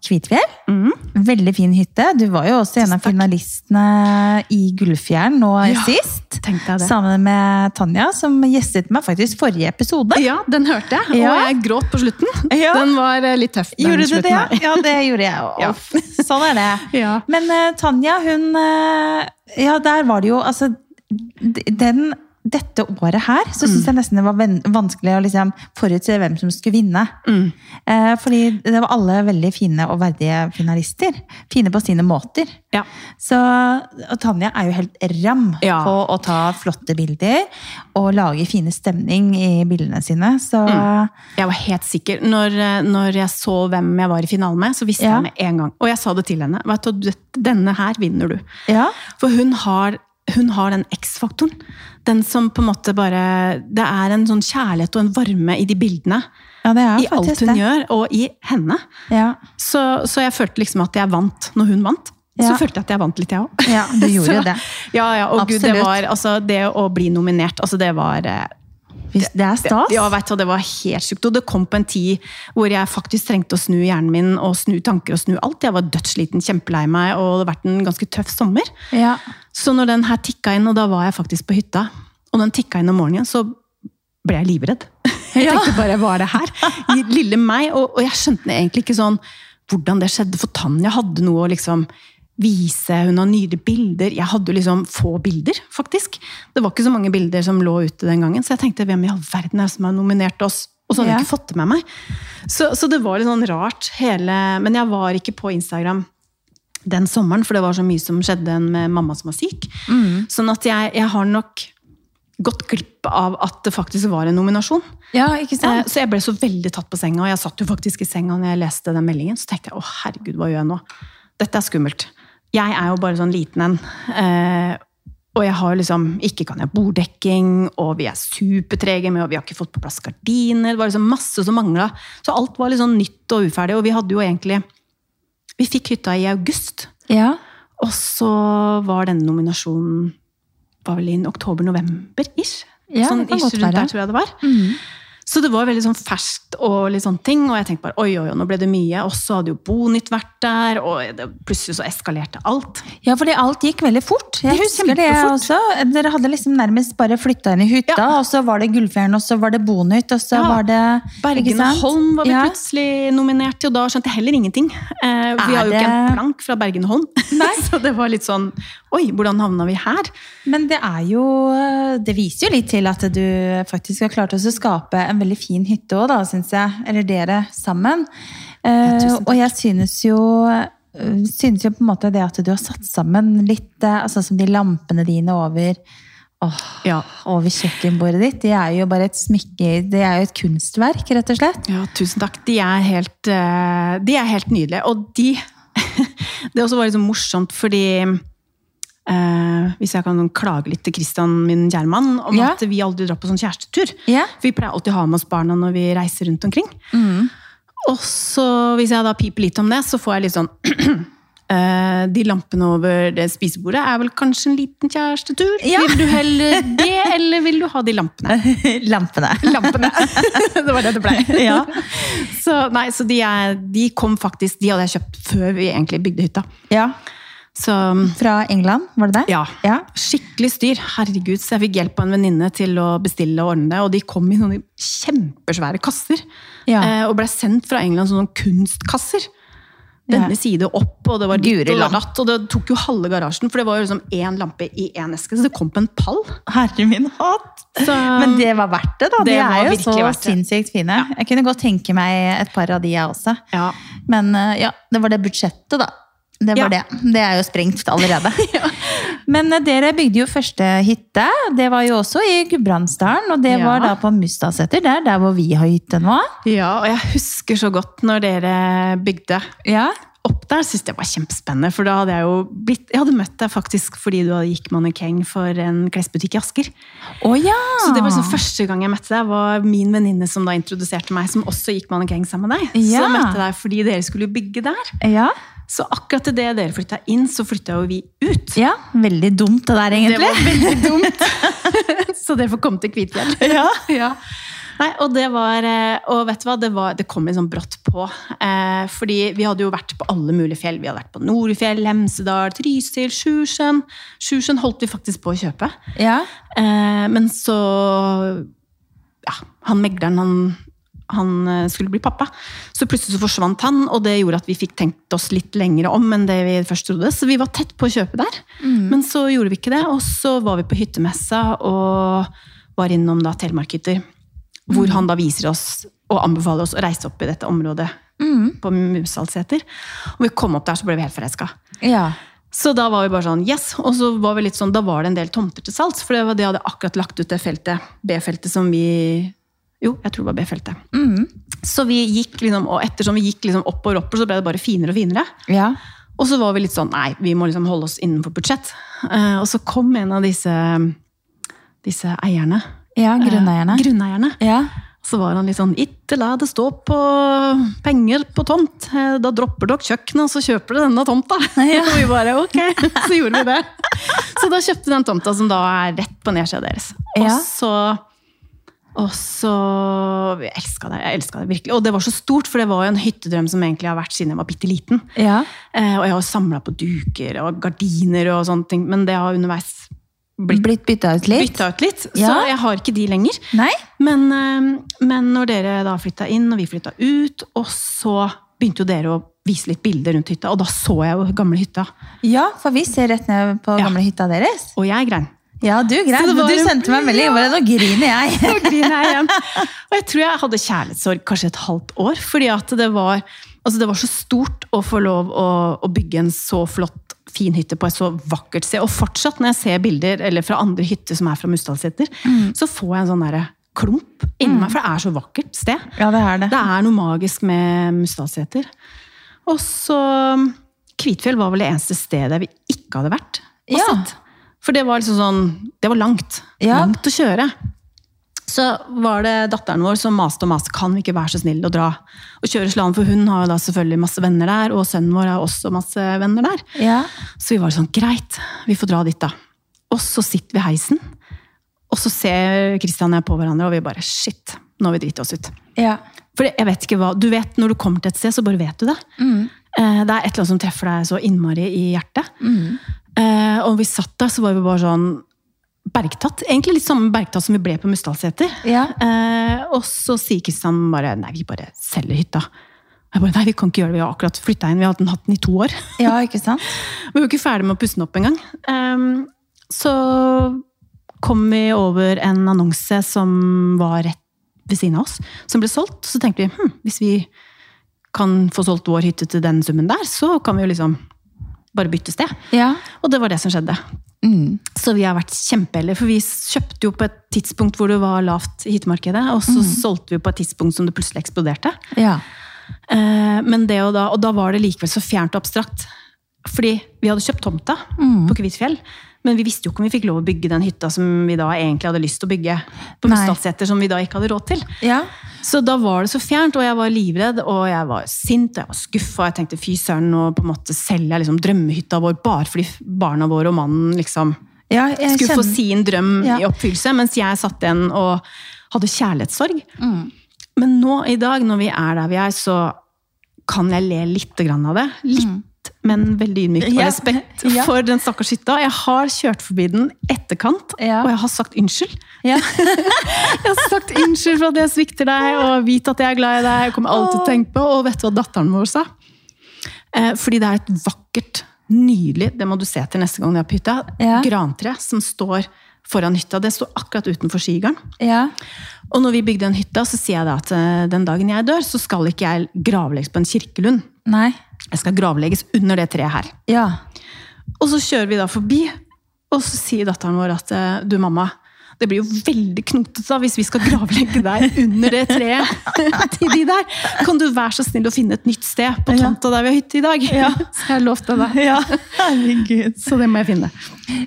Speaker 1: Kvitfjell.
Speaker 2: Mm.
Speaker 1: Veldig fin hytte. Du var jo også en av
Speaker 2: Tusen takk.
Speaker 1: finalistene i Gullfjern nå
Speaker 2: Ja,
Speaker 1: sist.
Speaker 2: Tenkte jeg det.
Speaker 1: Sammen med Tanja, som gjestet meg faktisk forrige episode.
Speaker 2: Ja, den hørte jeg, og
Speaker 1: Ja.
Speaker 2: jeg gråt på slutten.
Speaker 1: Ja.
Speaker 2: Den var eh, litt tøff. den
Speaker 1: Gjorde du det?
Speaker 2: slutten her.
Speaker 1: Ja, det gjorde jeg. Og-
Speaker 2: Ja.
Speaker 1: Sånn er det.
Speaker 2: Ja.
Speaker 1: Men eh, Tanja, hun eh, Ja, der var det jo Altså, d- den dette året her så
Speaker 2: Mm.
Speaker 1: syns jeg nesten det var ven- vanskelig å liksom forutse hvem som skulle vinne.
Speaker 2: Mm.
Speaker 1: Eh, fordi det var alle veldig fine og verdige finalister. Fine på sine måter.
Speaker 2: Ja.
Speaker 1: Så, og Tanja er jo helt ram
Speaker 2: Ja.
Speaker 1: på å ta flotte bilder og lage fine stemning i bildene sine. Så
Speaker 2: Jeg var helt sikker. Når, eh, når jeg så hvem jeg var i finalen med, så visste
Speaker 1: Ja.
Speaker 2: jeg med en gang. Og jeg sa det til henne. Vet du, du- denne her vinner du.
Speaker 1: ja.
Speaker 2: For hun har, hun har den X-faktoren. Den som på en måte bare Det er en sånn kjærlighet og en varme i de bildene.
Speaker 1: ja, det er
Speaker 2: I alt
Speaker 1: faktisk
Speaker 2: hun
Speaker 1: det.
Speaker 2: gjør, og i henne.
Speaker 1: Ja.
Speaker 2: Så, så jeg følte liksom at jeg vant når hun vant. Så
Speaker 1: Ja.
Speaker 2: følte jeg at jeg vant litt, jeg òg.
Speaker 1: ja, du gjorde
Speaker 2: Så-
Speaker 1: jo det.
Speaker 2: Ja, ja, og Gud, det,
Speaker 1: Absolutt.
Speaker 2: var, altså, det å bli nominert, altså, det var eh,
Speaker 1: Hvis det er stas.
Speaker 2: ja, vet du, det var helt sjukt. Og det kom på en tid hvor jeg faktisk trengte å snu hjernen min og snu tanker og snu alt. Jeg var dødssliten, kjempelei meg, og det har vært en ganske tøff sommer.
Speaker 1: Ja.
Speaker 2: Så når den her tikka inn, og da var jeg faktisk på hytta, og den tikka inn om morgenen, så ble jeg livredd. Jeg
Speaker 1: Ja.
Speaker 2: tenkte bare, hva er det her? Lille meg. Og, og jeg skjønte egentlig ikke sånn hvordan det skjedde, for Tanja hadde noe å liksom vise. Hun har nydelige bilder. Jeg hadde jo liksom få bilder, faktisk. Det var ikke så mange bilder som lå ute den gangen, så jeg tenkte hvem i all verden er det som har nominert oss? Og så hadde
Speaker 1: Ja.
Speaker 2: jeg ikke fått det med meg. Så, så det var litt sånn rart hele Men jeg var ikke på Instagram den sommeren, for det var så mye som skjedde med mamma som var syk. Sånn at jeg, jeg har nok gått glipp av at det faktisk var en nominasjon.
Speaker 1: ja, ikke
Speaker 2: Eh,
Speaker 1: sant?
Speaker 2: Så jeg ble så veldig tatt på senga, og jeg satt jo faktisk i senga når jeg leste den meldingen. Så tenkte jeg å herregud, hva gjør jeg nå? Dette er skummelt. Jeg er jo bare sånn liten en. eh, Og jeg har jo liksom Ikke kan jeg borddekking, og vi er supertrege med, og vi har ikke fått på plass gardiner. Det var liksom masse som mangla. Så alt var litt sånn nytt og uferdig. Og vi hadde jo egentlig Vi fikk hytta i august.
Speaker 1: Ja.
Speaker 2: Og så var denne nominasjonen var vel i oktober-november-ish.
Speaker 1: Ja,
Speaker 2: sånn
Speaker 1: det kan
Speaker 2: ish
Speaker 1: godt være. Mm.
Speaker 2: rundt der, tror jeg det var. Så det var veldig sånn ferskt og litt sånn ting, og jeg tenkte bare oi, oi, oi, nå ble det mye. Og så hadde jo Bonytt vært der, og det, plutselig så eskalerte alt.
Speaker 1: Ja, fordi alt gikk veldig fort. Jeg
Speaker 2: Det gikk
Speaker 1: husker det jeg også. Dere hadde liksom nærmest bare flytta inn i hytta,
Speaker 2: Ja.
Speaker 1: og så var det Gullfjern, og så var det Bonytt, og så
Speaker 2: Ja.
Speaker 1: var det ikke
Speaker 2: Bergen og
Speaker 1: sant?
Speaker 2: Holm var vi
Speaker 1: Ja.
Speaker 2: plutselig nominert til, og da skjønte jeg heller ingenting. Eh, vi
Speaker 1: Er
Speaker 2: har jo ikke
Speaker 1: det-
Speaker 2: en plank fra Bergen og Holm, så det var litt sånn oi, hvordan havna vi her?
Speaker 1: Men det er jo Det viser jo litt til at du faktisk har klart oss å skape en veldig fin hytte òg, da, syns jeg. Eller dere sammen. Eh,
Speaker 2: tusen takk.
Speaker 1: og jeg synes jo eh, synes jo på en måte det at du har satt sammen litt, eh, altså som de lampene dine over Åh,
Speaker 2: Ja.
Speaker 1: Over kjøkkenbordet ditt. Det er jo bare et smykke Det er jo et kunstverk, rett og slett.
Speaker 2: Ja, tusen takk. De er helt, eh, de er helt nydelige. Og de Det også var litt sånn morsomt, fordi eh, Hvis jeg kan klage litt til Christian, min kjære mann, om
Speaker 1: Ja.
Speaker 2: at vi aldri drar på sånn kjærestetur.
Speaker 1: Ja.
Speaker 2: For vi pleier alltid å ha med oss barna når vi reiser rundt omkring.
Speaker 1: Mm.
Speaker 2: Og så, hvis jeg da piper litt om det, så får jeg litt sånn eh, De lampene over det spisebordet er vel kanskje en liten kjærestetur?
Speaker 1: Ja.
Speaker 2: Vil du heller det, eller vil du ha de lampene?
Speaker 1: Lampene.
Speaker 2: Lampene! det var det det ble.
Speaker 1: Ja.
Speaker 2: Så, nei, så de, er, de kom faktisk De hadde jeg kjøpt før vi egentlig bygde hytta.
Speaker 1: ja.
Speaker 2: Så
Speaker 1: Fra England, var det det?
Speaker 2: ja.
Speaker 1: Ja.
Speaker 2: Skikkelig styr. Herregud, så jeg fikk hjelp av en venninne til å bestille og ordne det. Og de kom i sånne kjempesvære kasser.
Speaker 1: Ja.
Speaker 2: eh, Og ble sendt fra England som sånne kunstkasser. Denne
Speaker 1: Ja.
Speaker 2: side opp, og det var ditt
Speaker 1: Guri
Speaker 2: og
Speaker 1: land.
Speaker 2: datt. Og det tok jo halve garasjen, for det var jo liksom én lampe i én eske. Så det kom på en pall.
Speaker 1: Herre min hatt!
Speaker 2: Så,
Speaker 1: Men det var verdt det, da.
Speaker 2: Det
Speaker 1: de
Speaker 2: var
Speaker 1: er jo
Speaker 2: virkelig
Speaker 1: så
Speaker 2: verdt det.
Speaker 1: sinnssykt fine. Jeg kunne godt tenke meg et par av de, jeg også.
Speaker 2: Ja.
Speaker 1: Men eh, ja, det var det budsjettet, da. Det
Speaker 2: Ja.
Speaker 1: var det. Det er jo sprengt allerede. Men eh, dere bygde jo første hytte. Det var jo også i Gudbrandsdalen, og det
Speaker 2: Ja.
Speaker 1: var da på Mustaseter. Det er der hvor vi har hytte nå.
Speaker 2: ja, og jeg husker så godt når dere bygde.
Speaker 1: Ja.
Speaker 2: opp der, syntes jeg var kjempespennende. For da hadde jeg jo blitt Jeg hadde møtt deg faktisk fordi du hadde gikk mannequin for en klesbutikk i Asker.
Speaker 1: Å ja!
Speaker 2: Så det var
Speaker 1: Ah.
Speaker 2: liksom første gang jeg møtte deg, var min venninne som da introduserte meg, som også gikk mannequin sammen med deg. Så
Speaker 1: Ja.
Speaker 2: jeg møtte deg fordi dere skulle bygge der.
Speaker 1: Ja.
Speaker 2: Så akkurat til det dere flytta inn, så flytta jo vi ut.
Speaker 1: ja. Veldig dumt det der,
Speaker 2: Det
Speaker 1: egentlig.
Speaker 2: var veldig dumt. så dere får komme til Kvitfjell.
Speaker 1: Ja.
Speaker 2: Ja. Nei, og det var eh, Og vet du hva, det, var, det kom litt sånn brått på. Eh, fordi vi hadde jo vært på alle mulige fjell. Vi hadde vært på Norefjell, Hemsedal, Trysil, Sjusjøen. Sjusjøen holdt vi faktisk på å kjøpe.
Speaker 1: Ja.
Speaker 2: Eh, men så Ja, han megleren, han han eh, skulle bli pappa. Så plutselig så forsvant han, og det gjorde at vi fikk tenkt oss litt lengre om enn det vi først trodde. Så vi var tett på å kjøpe der, men så gjorde vi ikke det. Og så var vi på hyttemessa og var innom da Telemarkhytter, hvor han da viser oss og anbefaler oss å reise opp i dette området på Musalseter. Og vi kom opp der, så ble vi helt forelska.
Speaker 1: ja.
Speaker 2: Så da var vi bare sånn, yes, og så var vi litt sånn, da var det en del tomter til salgs, for det var det jeg hadde akkurat lagt ut det feltet, B-feltet som vi, jo, jeg tror det var B-feltet. Så vi gikk liksom, og ettersom vi gikk liksom opp og opp, så ble det bare finere og finere.
Speaker 1: Ja.
Speaker 2: Og så var vi litt sånn, nei, vi må liksom holde oss innenfor budsjett. Eh, og så kom en av disse, disse eierne.
Speaker 1: ja grunneierne.
Speaker 2: Eh, grunneierne.
Speaker 1: Ja.
Speaker 2: Så var han litt sånn Ikke la det stå på penger på tomt. Eh, Da dropper dere kjøkkenet, og så kjøper dere denne tomta.
Speaker 1: Ja.
Speaker 2: Og vi bare ok, så gjorde vi det. Så da kjøpte vi den tomta som da er rett på nedsida deres.
Speaker 1: Ja.
Speaker 2: Og så og så Jeg elska det. jeg elsket det virkelig. Og det var så stort, for det var jo en hyttedrøm som egentlig har vært siden jeg var bitte liten.
Speaker 1: Ja.
Speaker 2: Eh, og jeg har samla på duker og gardiner og sånne ting, men det har underveis
Speaker 1: Blitt, bytta ut litt?
Speaker 2: bytta ut litt. Så
Speaker 1: Ja.
Speaker 2: jeg har ikke de lenger.
Speaker 1: Nei?
Speaker 2: Men, eh, men når dere da flytta inn, og vi flytta ut, og så begynte jo dere å vise litt bilder rundt hytta, og da så jeg jo gamle hytta.
Speaker 1: Ja, for vi ser rett ned på
Speaker 2: Ja.
Speaker 1: gamle hytta deres.
Speaker 2: Og jeg grein.
Speaker 1: Ja, du greit.
Speaker 2: Så det var
Speaker 1: Du
Speaker 2: en-
Speaker 1: sendte meg en melding. Bare, nå griner jeg.
Speaker 2: Nå griner jeg igjen. Og jeg tror jeg hadde kjærlighetssorg kanskje et halvt år, fordi at det var, altså det var så stort å få lov å, å bygge en så flott, fin hytte på et så vakkert sted. Og fortsatt når jeg ser bilder eller fra andre hytter som er fra Mustadseter, så får jeg en sånn derre klump inni meg, for det er så vakkert sted.
Speaker 1: Ja, det er
Speaker 2: Det er noe magisk med Mustadseter. Og så um, Kvitfjell var vel det eneste stedet vi ikke hadde vært. og
Speaker 1: Ja.
Speaker 2: sett. For det var liksom sånn Det var langt.
Speaker 1: Ja.
Speaker 2: Langt å kjøre. Så var det datteren vår som maste og maste. Kan vi ikke være så snill å dra og kjøre slalåm? For hun har jo da selvfølgelig masse venner der, og sønnen vår har også masse venner der.
Speaker 1: Ja.
Speaker 2: Så vi var sånn, greit, vi får dra dit da. Og så sitter vi i heisen, og så ser Kristian og jeg på hverandre, og vi bare, shit, nå har vi dritt oss ut.
Speaker 1: Ja.
Speaker 2: For jeg vet ikke hva, du vet når du kommer til et sted, så bare vet du det. Eh, Det er et eller annet som treffer deg så innmari i hjertet.
Speaker 1: Mm.
Speaker 2: Eh, Og vi satt der, så var vi bare sånn, bergtatt. Egentlig litt samme bergtatt som vi ble på Mustadseter.
Speaker 1: Ja.
Speaker 2: Eh, og så sier Kristian bare, nei, vi bare selger hytta. Og Jeg bare, nei, vi kan ikke gjøre det, vi har akkurat flyttet inn, vi har hatt den, hatt den i to år.
Speaker 1: ja, ikke sant?
Speaker 2: Vi var jo ikke ferdig med å pusse den opp engang. Ehm, så kom vi over en annonse som var rett ved siden av oss, som ble solgt. Så tenkte vi hm, hvis vi kan få solgt vår hytte til den summen der, så kan vi jo liksom bare bytte sted.
Speaker 1: Ja. Mm.
Speaker 2: Og det var det som skjedde. Så vi har vært kjempeheldige, for vi kjøpte jo på et tidspunkt hvor det var lavt i hyttemarkedet, og så solgte vi på et tidspunkt som det plutselig eksploderte.
Speaker 1: Ja.
Speaker 2: Eh, Men det og da, og da var det likevel så fjernt og abstrakt. Fordi vi hadde kjøpt tomta
Speaker 1: Mm.
Speaker 2: på Kvitfjell, men vi visste jo ikke om vi fikk lov å bygge den hytta som vi da egentlig hadde lyst til å bygge. På
Speaker 1: Nei.
Speaker 2: Mustadseter, som vi da ikke hadde råd til.
Speaker 1: Ja.
Speaker 2: Så da var det så fjernt, og jeg var livredd, og jeg var sint, og jeg var skuffa. Jeg tenkte fy søren, nå på en måte selger jeg liksom drømmehytta vår bare fordi barna våre og mannen liksom
Speaker 1: ja jeg
Speaker 2: skulle få
Speaker 1: kjenner-
Speaker 2: sin drøm
Speaker 1: Ja.
Speaker 2: i oppfyllelse, mens jeg satt igjen og hadde kjærlighetssorg.
Speaker 1: Mm.
Speaker 2: Men nå i dag, når vi er der vi er, så kan jeg le litt grann av det. Litt, men veldig ydmykt og
Speaker 1: Ja.
Speaker 2: respekt
Speaker 1: Ja.
Speaker 2: for den stakkars hytta. Jeg har kjørt forbi den etterkant,
Speaker 1: Ja.
Speaker 2: og jeg har sagt unnskyld.
Speaker 1: Ja.
Speaker 2: Jeg har sagt unnskyld for at jeg svikter deg, og vit at jeg er glad i deg. Jeg kommer alltid til å tenke på, Og vet du hva datteren vår sa? Eh, Fordi det er et vakkert, nydelig, det må du se til neste gang du er på hytta,
Speaker 1: Ja.
Speaker 2: grantre som står foran hytta. Det står akkurat utenfor skigarden.
Speaker 1: ja.
Speaker 2: Og når vi bygde den hytta, så sier jeg da at eh, den dagen jeg dør, så skal ikke jeg gravlegges på en kirkelund.
Speaker 1: Nei.
Speaker 2: Jeg skal gravlegges under det treet her.
Speaker 1: Ja.
Speaker 2: Og så kjører vi da forbi, og så sier datteren vår at eh, du, mamma, det blir jo veldig knotete da hvis vi skal gravlegge deg under det treet til de der. Kan du være så snill å finne et nytt sted på
Speaker 1: Ja.
Speaker 2: tomta der vi har hytte i dag? Så jeg lovte det.
Speaker 1: ja. Herregud.
Speaker 2: Så det må jeg finne.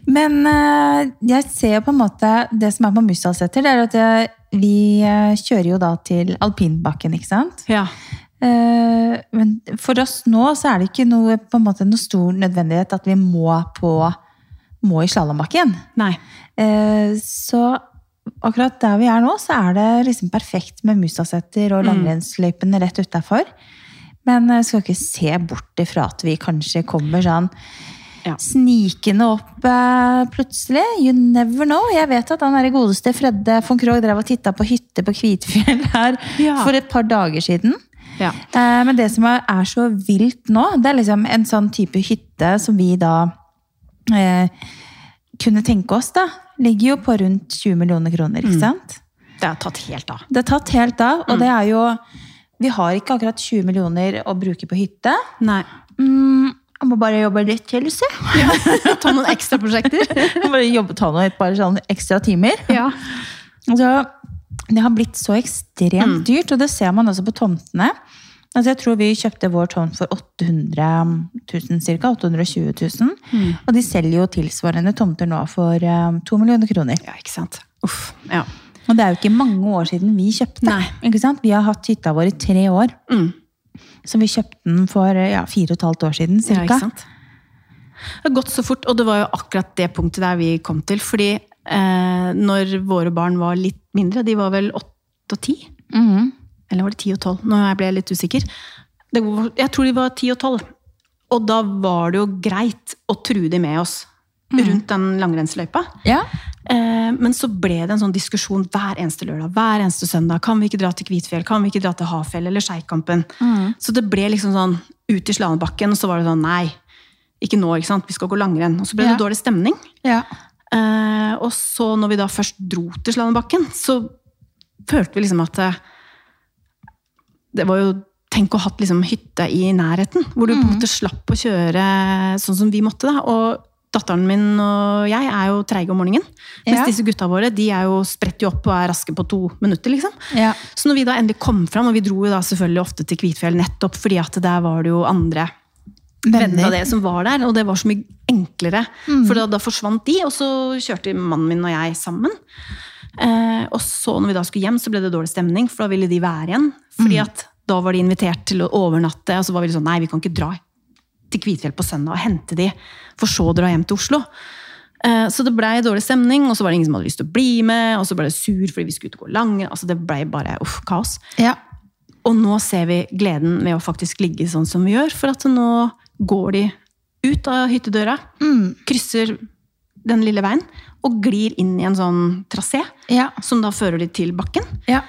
Speaker 1: Men eh, jeg ser jo på en måte Det som er på Musdalseter, det er at eh, vi eh, kjører jo da til alpinbakken, ikke sant?
Speaker 2: Ja.
Speaker 1: Eh, men for oss nå så er det ikke noe, på en måte, noe stor nødvendighet at vi må på må i slalåmbakken.
Speaker 2: Nei.
Speaker 1: Eh, så akkurat der vi er nå, så er det liksom perfekt med Musdalseter
Speaker 2: Mm.
Speaker 1: og langrennsløypene rett utafor. Men eh, skal ikke se bort ifra at vi kanskje kommer sånn
Speaker 2: Ja.
Speaker 1: snikende opp eh, plutselig. You never know. Jeg vet at han der godeste Fredde von Krogh drev og titta på hytte på Kvitfjell her
Speaker 2: Ja.
Speaker 1: for et par dager siden.
Speaker 2: Ja.
Speaker 1: Eh, men det som er, er så vilt nå, det er liksom en sånn type hytte som vi da eh, kunne tenke oss, da. Ligger jo på rundt 20 millioner kroner, ikke sant?
Speaker 2: Det har tatt helt av.
Speaker 1: Det er tatt helt av, og det er jo Vi har ikke akkurat 20 millioner å bruke på hytte.
Speaker 2: Nei.
Speaker 1: Mm, jeg må bare jobbe litt til, så.
Speaker 2: Ta noen ekstra prosjekter.
Speaker 1: Jeg må bare jobbe ta noe et par sånn ekstra timer.
Speaker 2: Ja.
Speaker 1: Altså, det har blitt så ekstremt
Speaker 2: Mm.
Speaker 1: dyrt, og det ser man også på tomtene. Altså, jeg tror vi kjøpte vår tomt for 800 000, cirka, 820 000.
Speaker 2: Mm.
Speaker 1: Og de selger jo tilsvarende tomter nå for eh, 2 millioner kroner.
Speaker 2: Ja, ikke sant. Uff. Ja.
Speaker 1: Og det er jo ikke mange år siden vi kjøpte.
Speaker 2: Nei.
Speaker 1: Ikke sant? Vi har hatt hytta vår i tre år.
Speaker 2: Mm.
Speaker 1: Så vi kjøpte den for eh, ja, fire og et halvt år siden,
Speaker 2: Ja, ikke
Speaker 1: cirka.
Speaker 2: sant? Det har gått så fort, og det var jo akkurat det punktet der vi kom til. Fordi eh, når våre barn var litt mindre, de var vel åtte og ti?
Speaker 1: Mhm.
Speaker 2: Eller var det ti og tolv? Nå ble jeg litt usikker. Det var, jeg tror de var ti og tolv. Og da var det jo greit å true de med oss rundt den langrennsløypa.
Speaker 1: ja.
Speaker 2: Eh, Men så ble det en sånn diskusjon hver eneste lørdag, hver eneste søndag. Kan vi ikke dra til Kvitfjell? Kan vi ikke dra til Hafjell eller Skeikampen? Så det ble liksom sånn ut i Slanebakken, og så var det sånn nei, ikke nå, ikke sant? Vi skal gå langrenn. Og så ble det
Speaker 1: Ja.
Speaker 2: dårlig stemning.
Speaker 1: Ja.
Speaker 2: Eh, og så når vi da først dro til Slanebakken, så følte vi liksom at eh, det var jo Tenk å ha hatt liksom hytte i nærheten, hvor du på en måte slapp å kjøre sånn som vi måtte. da, og Datteren min og jeg er jo treige om morgenen. Mens
Speaker 1: Ja.
Speaker 2: disse gutta våre de er jo spretter jo opp og er raske på to minutter. liksom.
Speaker 1: Ja.
Speaker 2: Så når vi da endelig kom fram, og vi dro jo da selvfølgelig ofte til Kvitfjell nettopp fordi at der var det jo andre venner av det som var der, og det var så mye enklere. For da, da forsvant de, og så kjørte mannen min og jeg sammen. Eh, og så når vi da skulle hjem, så ble det dårlig stemning, for da ville de være igjen. Fordi at da var de invitert til å overnatte, og så var vi litt sånn, nei, vi kan ikke dra til Kvitfjell på søndag og hente de, for så å dra hjem til Oslo. Eh, Så det blei dårlig stemning, og så var det ingen som hadde lyst til å bli med. Og så ble det sur fordi vi skulle ut og gå lang. Altså det blei bare uff, kaos.
Speaker 1: Ja.
Speaker 2: Og nå ser vi gleden med å faktisk ligge sånn som vi gjør, for at nå går de ut av hyttedøra,
Speaker 1: Mm.
Speaker 2: krysser den lille veien, og glir inn i en sånn trasé,
Speaker 1: Ja.
Speaker 2: som da fører de til bakken.
Speaker 1: Ja.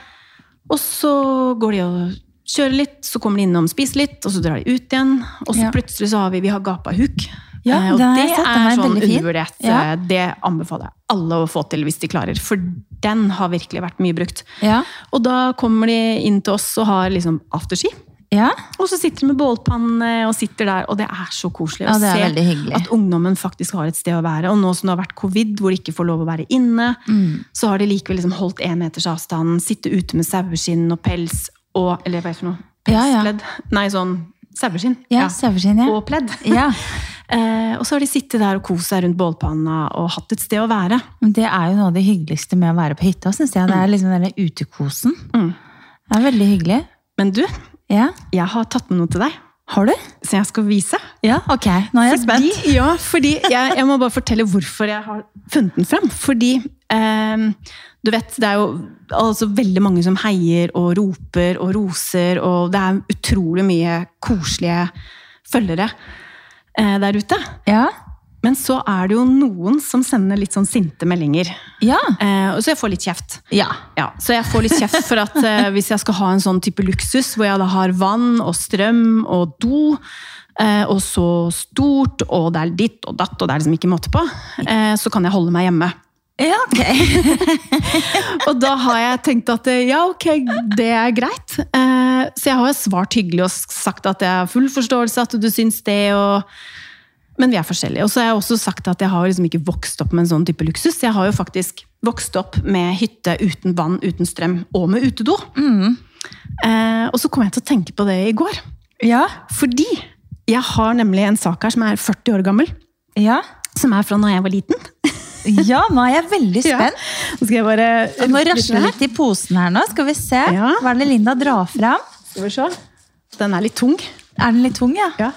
Speaker 2: Og så går de og kjører litt, så kommer de innom, spiser litt, og så drar de ut igjen. Og så
Speaker 1: Ja.
Speaker 2: plutselig så har vi, vi har gapa huk.
Speaker 1: Ja,
Speaker 2: Eh, og
Speaker 1: den har
Speaker 2: det
Speaker 1: jeg sett. Den
Speaker 2: er
Speaker 1: er
Speaker 2: sånn
Speaker 1: veldig fin.
Speaker 2: undervurdert.
Speaker 1: Ja.
Speaker 2: eh, Det anbefaler jeg alle å få til hvis de klarer. For den har virkelig vært mye brukt.
Speaker 1: Ja.
Speaker 2: Og da kommer de inn til oss og har liksom afterski.
Speaker 1: Ja,
Speaker 2: Og så sitter de med bålpanne og sitter der, og det er så koselig
Speaker 1: Ja,
Speaker 2: å
Speaker 1: det er veldig
Speaker 2: se
Speaker 1: hyggelig.
Speaker 2: at ungdommen faktisk har et sted å være. Og nå som det har vært covid, hvor de ikke får lov å være inne,
Speaker 1: Mm.
Speaker 2: så har de likevel liksom holdt én meters avstand, sitte ute med saueskinn og pels og Eller hva er det for noe?
Speaker 1: Ja, ja.
Speaker 2: Pelspledd? Nei, sånn saueskinn.
Speaker 1: ja saueskinn, ja.
Speaker 2: Og pledd.
Speaker 1: ja.
Speaker 2: Eh, og så har de sittet der og kost seg rundt bålpanna og hatt et sted å være.
Speaker 1: Men Det er jo noe av det hyggeligste med å være på hytta, syns jeg. Det er liksom denne utekosen.
Speaker 2: Mm.
Speaker 1: Det er veldig hyggelig.
Speaker 2: Men du,
Speaker 1: Ja.
Speaker 2: jeg har tatt med noe til deg
Speaker 1: Har du?
Speaker 2: som jeg skal vise.
Speaker 1: Ja, ok. Nå er jeg spent.
Speaker 2: Fordi, ja, fordi jeg, jeg må bare fortelle hvorfor jeg har funnet den fram. Fordi eh, du vet, det er jo altså veldig mange som heier og roper og roser, og det er utrolig mye koselige følgere eh, der ute.
Speaker 1: Ja.
Speaker 2: Men så er det jo noen som sender litt sånn sinte meldinger.
Speaker 1: Ja.
Speaker 2: Eh, og så jeg får litt kjeft.
Speaker 1: Ja.
Speaker 2: Ja, så jeg får litt kjeft for at eh, hvis jeg skal ha en sånn type luksus, hvor jeg da har vann og strøm og do, eh, og så stort, og det er ditt og datt, og det er liksom ikke måte på, eh, så kan jeg holde meg hjemme.
Speaker 1: Ja, ok.
Speaker 2: Og da har jeg tenkt at eh, ja, ok, det er greit. Eh, så jeg har jo svart hyggelig og sagt at jeg har full forståelse, at du syns det, og men vi er forskjellige. Og så har jeg også sagt at jeg har liksom ikke vokst opp med en sånn type luksus. Jeg har jo faktisk vokst opp med hytte uten vann, uten strøm og med utedo. Mm. Eh, og så kom jeg til å tenke på det i går.
Speaker 1: Ja.
Speaker 2: Fordi jeg har nemlig en sak her som er 40 år gammel.
Speaker 1: Ja.
Speaker 2: Som er fra når jeg var liten.
Speaker 1: ja, nå er jeg veldig spent.
Speaker 2: Ja. Nå skal jeg bare
Speaker 1: Jeg må rasle litt i posen her nå. Skal vi se.
Speaker 2: Ja.
Speaker 1: Hva er det Linda drar fram?
Speaker 2: Skal vi se. Den er litt tung.
Speaker 1: Er den litt tung, ja?
Speaker 2: Ja.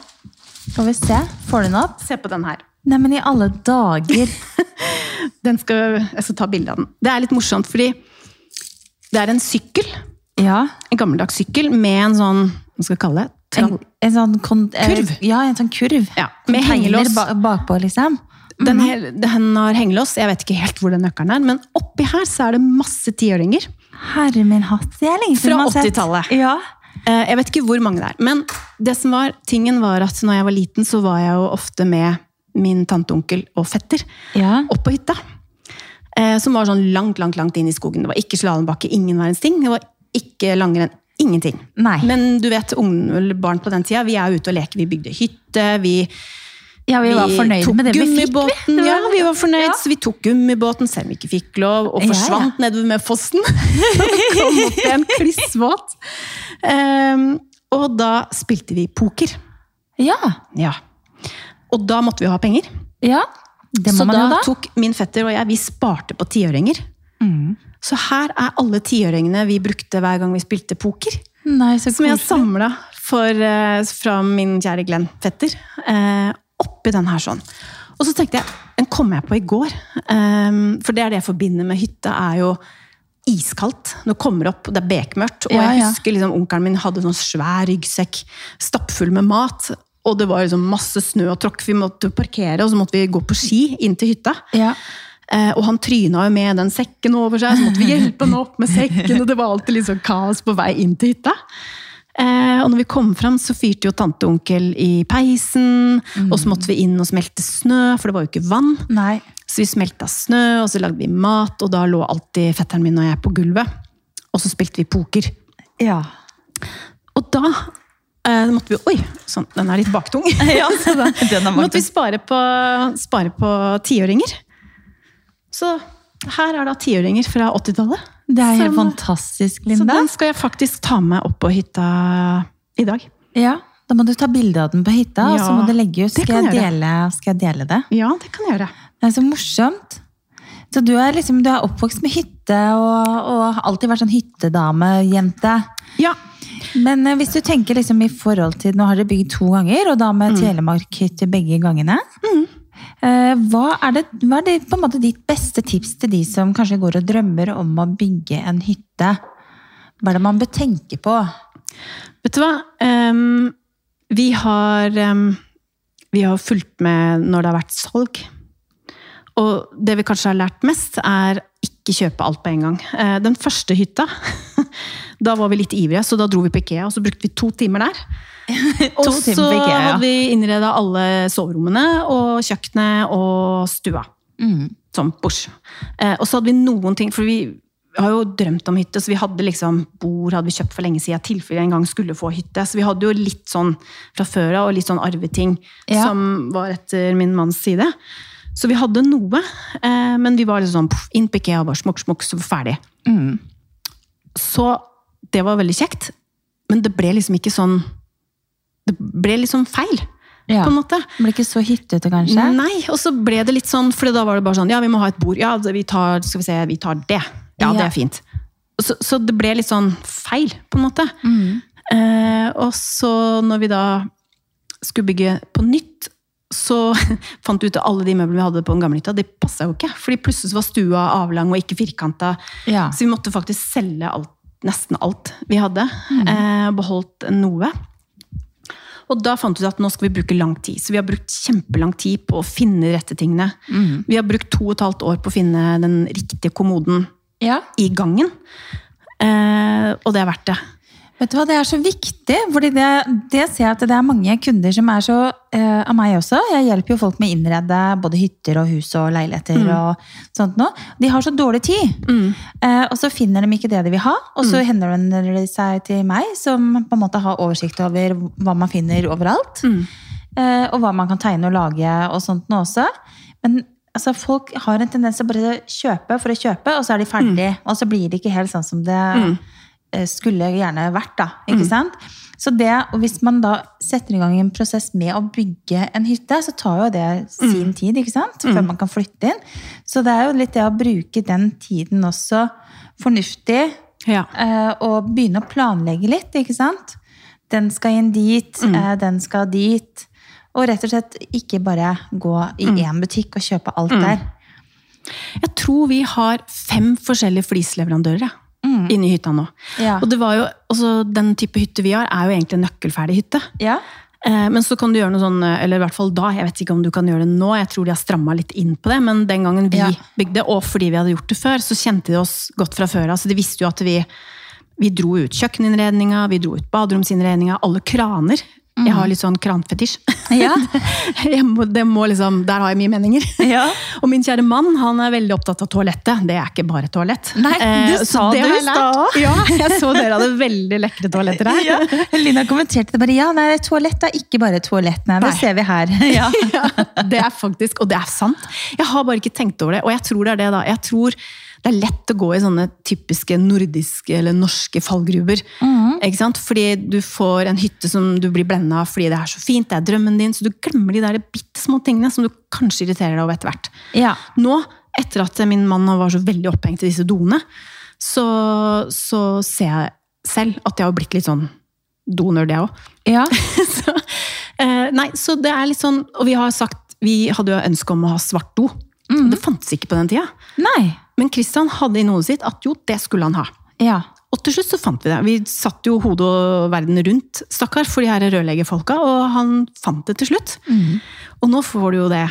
Speaker 1: Skal vi se. Får du den opp?
Speaker 2: Se på den her.
Speaker 1: Neimen, i alle dager.
Speaker 2: Den skal, jeg skal ta bilde av den. Det er litt morsomt, fordi det er en sykkel.
Speaker 1: Ja.
Speaker 2: En gammeldags sykkel med en sånn Hva skal jeg kalle det? Tra-
Speaker 1: En, en sånn kon- eh,
Speaker 2: Kurv.
Speaker 1: Ja, en sånn kurv.
Speaker 2: Ja, med
Speaker 1: Container
Speaker 2: hengelås.
Speaker 1: ba- bakpå, liksom.
Speaker 2: Den, hel- den har hengelås. Jeg vet ikke helt hvor den nøkkelen er, men oppi her så er det masse tiåringer.
Speaker 1: Herre min hatt, det er lenge siden
Speaker 2: Fra
Speaker 1: man har sett.
Speaker 2: 80-tallet.
Speaker 1: Ja.
Speaker 2: Eh, Jeg vet ikke hvor mange det er. Men det som var, tingen var at når jeg var liten, så var jeg jo ofte med min tanteonkel og fetter
Speaker 1: Ja.
Speaker 2: opp på hytta. Eh, Som var sånn langt, langt langt inn i skogen. Det var ikke slalåmbakke, ingen verdens ting. Det var ikke langrenn. Ingenting.
Speaker 1: Nei.
Speaker 2: Men du vet, unge, eller barn på den tida, vi er ute og leker. Vi bygde hytte, vi
Speaker 1: ja, vi var fornøyde med det vi fikk. vi.
Speaker 2: gummibåten,
Speaker 1: Det
Speaker 2: ja, vi var fornøyd,
Speaker 1: Ja.
Speaker 2: så vi tok gummibåten, selv om vi ikke fikk lov, og
Speaker 1: Ja,
Speaker 2: forsvant nedover med fossen. Kom opp igjen, klissvåt. Ehm, og da spilte vi poker.
Speaker 1: Ja.
Speaker 2: Ja. Og da måtte vi jo ha penger.
Speaker 1: ja. Det må
Speaker 2: Så
Speaker 1: man
Speaker 2: da,
Speaker 1: jo da.
Speaker 2: tok min fetter og jeg, vi sparte på tiøringer.
Speaker 1: Mm.
Speaker 2: Så her er alle tiøringene vi brukte hver gang vi spilte poker.
Speaker 1: Mm, Nei, så
Speaker 2: Som jeg
Speaker 1: koselig.
Speaker 2: samla fra min kjære Glenn Fetter. eh, oppi den her sånn. Og så tenkte jeg, den kom jeg på i går. eh, for det er det jeg forbinder med hytta, er jo iskaldt. Når det kommer opp, og det er bekmørkt. Og
Speaker 1: Ja,
Speaker 2: jeg
Speaker 1: ja.
Speaker 2: husker liksom, onkelen min hadde sånn svær ryggsekk stappfull med mat. Og det var liksom masse snø og tråkk. Vi måtte parkere, og så måtte vi gå på ski inn til hytta.
Speaker 1: Ja.
Speaker 2: Eh, og han tryna jo med den sekken over seg, så måtte vi hjelpe han opp med sekken. Og det var alltid litt sånn kaos på vei inn til hytta. Eh, og når vi kom fram, så fyrte jo tante og onkel i peisen. Og så måtte vi inn og smelte snø, for det var jo ikke vann.
Speaker 1: Nei.
Speaker 2: Så vi smelta snø, og så lagde vi mat, og da lå alltid fetteren min og jeg på gulvet. Og så spilte vi poker.
Speaker 1: Ja.
Speaker 2: Og da eh, måtte vi Oi, sånn, den er litt baktung.
Speaker 1: ja så da. Den
Speaker 2: Nå måtte vi spare på, spare på tiåringer. Så her er da tiåringer fra 80-tallet.
Speaker 1: Det er helt
Speaker 2: Som-
Speaker 1: fantastisk,
Speaker 2: Så
Speaker 1: Linda.
Speaker 2: den skal jeg faktisk ta med opp på hytta i dag.
Speaker 1: Ja, Da må du ta bilde av den på hytta, og så
Speaker 2: Ja,
Speaker 1: må du legge ut.
Speaker 2: det
Speaker 1: Skal
Speaker 2: kan
Speaker 1: jeg,
Speaker 2: jeg gjøre.
Speaker 1: dele, skal jeg dele det?
Speaker 2: Ja, det kan jeg gjøre.
Speaker 1: Det er så morsomt. Så du er, liksom, du er oppvokst med hytte og, og har alltid vært sånn hyttedamejente.
Speaker 2: Ja,
Speaker 1: Men eh, hvis du tenker liksom i forhold til Nå har dere bygd to ganger, og da
Speaker 2: Mm.
Speaker 1: med Telemark-hytte begge gangene. Eh, hva er, det, hva er det, på en måte ditt beste tips til de som kanskje går og drømmer om å bygge en hytte? Hva er det man bør tenke på?
Speaker 2: Vet du hva? Ehm, vi har ehm, Vi har fulgt med når det har vært salg. Og det vi kanskje har lært mest, er ikke kjøpe alt på en gang. Eh, den første hytta, da var vi litt ivrige, så da dro vi på Ikea, og så brukte vi to timer der.
Speaker 1: To
Speaker 2: og
Speaker 1: timer
Speaker 2: så
Speaker 1: på Ikea, ja.
Speaker 2: hadde vi innreda alle soverommene og kjøkkenet og stua. Sånn, bors. Eh, og så hadde vi noen ting, for vi har jo drømt om hytte, så vi hadde liksom bord hadde vi kjøpt for lenge siden, i tilfelle jeg en gang skulle få hytte. Så vi hadde jo litt sånn fra før av, og litt sånn arveting
Speaker 1: Ja.
Speaker 2: som var etter min manns side. Så vi hadde noe, eh, men vi var liksom sånn poff, inn på IKEA, bare smokk, smokk, så ferdig.
Speaker 1: Mm.
Speaker 2: Så det var veldig kjekt, men det ble liksom ikke sånn Det ble liksom feil,
Speaker 1: Ja.
Speaker 2: på en måte.
Speaker 1: Blir ikke så hyttete, kanskje?
Speaker 2: Nei, og så ble det litt sånn, for da var det bare sånn, ja, vi må ha et bord, ja, vi tar, skal vi se, vi tar det. Ja,
Speaker 1: Ja.
Speaker 2: det er fint. Så, så det ble litt sånn feil, på en måte.
Speaker 1: Mm.
Speaker 2: Eh, og så når vi da skulle bygge på nytt, så fant vi ut at alle de møblene vi hadde på den gamle hytta, de passet jo ikke. Fordi plutselig så var stua avlang og ikke firkanta.
Speaker 1: Ja.
Speaker 2: Så vi måtte faktisk selge alt, nesten alt vi hadde.
Speaker 1: Mm.
Speaker 2: Eh, beholdt noe. Og da fant vi ut at nå skal vi bruke lang tid. Så vi har brukt kjempelang tid på å finne de rette tingene.
Speaker 1: Mm.
Speaker 2: Vi har brukt to og et halvt år på å finne den riktige kommoden
Speaker 1: ja.
Speaker 2: i gangen. Eh, og det er verdt det.
Speaker 1: Vet du hva, det er så viktig, fordi det, det ser jeg at det er mange kunder som er så eh, Av meg også. Jeg hjelper jo folk med å innrede både hytter og hus og leiligheter og sånt noe. De har så dårlig tid, eh, og så finner de ikke det de vil ha. Og så henvender de seg til meg, som på en måte har oversikt over hva man finner overalt. Eh, og hva man kan tegne og lage og sånt nå også. Men altså, folk har en tendens til å bare kjøpe for å kjøpe, og så er de ferdig. Og så blir det ikke helt sånn som det eh, skulle gjerne vært. da, ikke sant? Så det, og Hvis man da setter i gang en prosess med å bygge en hytte, så tar jo det sin tid ikke sant? før man kan flytte inn. Så det er jo litt det å bruke den tiden også fornuftig.
Speaker 2: Ja.
Speaker 1: Eh, og begynne å planlegge litt, ikke sant? Den skal inn dit, eh, den skal dit. Og rett og slett ikke bare gå i én butikk og kjøpe alt der.
Speaker 2: Jeg tror vi har fem forskjellige flisleverandører jeg, inne i hytta nå.
Speaker 1: Mm. Ja.
Speaker 2: Og det var jo, altså, den type hytte vi har, er jo egentlig en nøkkelferdig hytte.
Speaker 1: Ja,
Speaker 2: Eh, Men så kan du gjøre noe sånn, eller i hvert fall da, jeg vet ikke om du kan gjøre det nå, jeg tror de har stramma litt inn på det, men den gangen vi
Speaker 1: Ja.
Speaker 2: bygde, og fordi vi hadde gjort det før, så kjente de oss godt fra før av. Så de visste jo at vi, vi dro ut kjøkkeninnredninga, vi dro ut baderomsinnredninga, alle kraner. Jeg har litt sånn kranfetisj.
Speaker 1: Mm. Ja.
Speaker 2: Jeg må, det må liksom, der har jeg mye meninger.
Speaker 1: Ja.
Speaker 2: Og min kjære mann han er veldig opptatt av toalettet. Det er ikke bare toalett.
Speaker 1: Nei, det
Speaker 2: Eh,
Speaker 1: sa
Speaker 2: så
Speaker 1: du
Speaker 2: har
Speaker 1: i
Speaker 2: jeg lært. Ja, jeg så dere hadde veldig lekre toaletter her.
Speaker 1: ja. Lina kommenterte det bare. Ja, nei, toalett er ikke bare toalett. Nei, det
Speaker 2: Nei.
Speaker 1: ser vi her. Ja.
Speaker 2: ja, det er faktisk, og det er sant. Jeg har bare ikke tenkt over det, og jeg tror det er det da. Jeg tror det er lett å gå i sånne typiske nordiske eller norske fallgruber. Ikke sant? Fordi du får en hytte som du blir blenda av fordi det er så fint, det er drømmen din, så du glemmer de der bitte små tingene som du kanskje irriterer deg over etter hvert.
Speaker 1: Ja.
Speaker 2: Nå, etter at min mann var så veldig opphengt i disse doene, så, så ser jeg selv at jeg har blitt litt sånn donør, det òg
Speaker 1: Ja.
Speaker 2: så, eh, nei, så det er litt sånn Og vi har sagt Vi hadde jo ønske om å ha svart do. Det fantes ikke på den tida.
Speaker 1: Nei.
Speaker 2: Men Christian hadde i noe sitt at jo, det skulle han ha.
Speaker 1: Ja.
Speaker 2: Og til slutt så fant vi det. Vi satt jo hodet og verden rundt, stakkar, for de her rørleggerfolka, og han fant det til slutt. Og nå får du jo det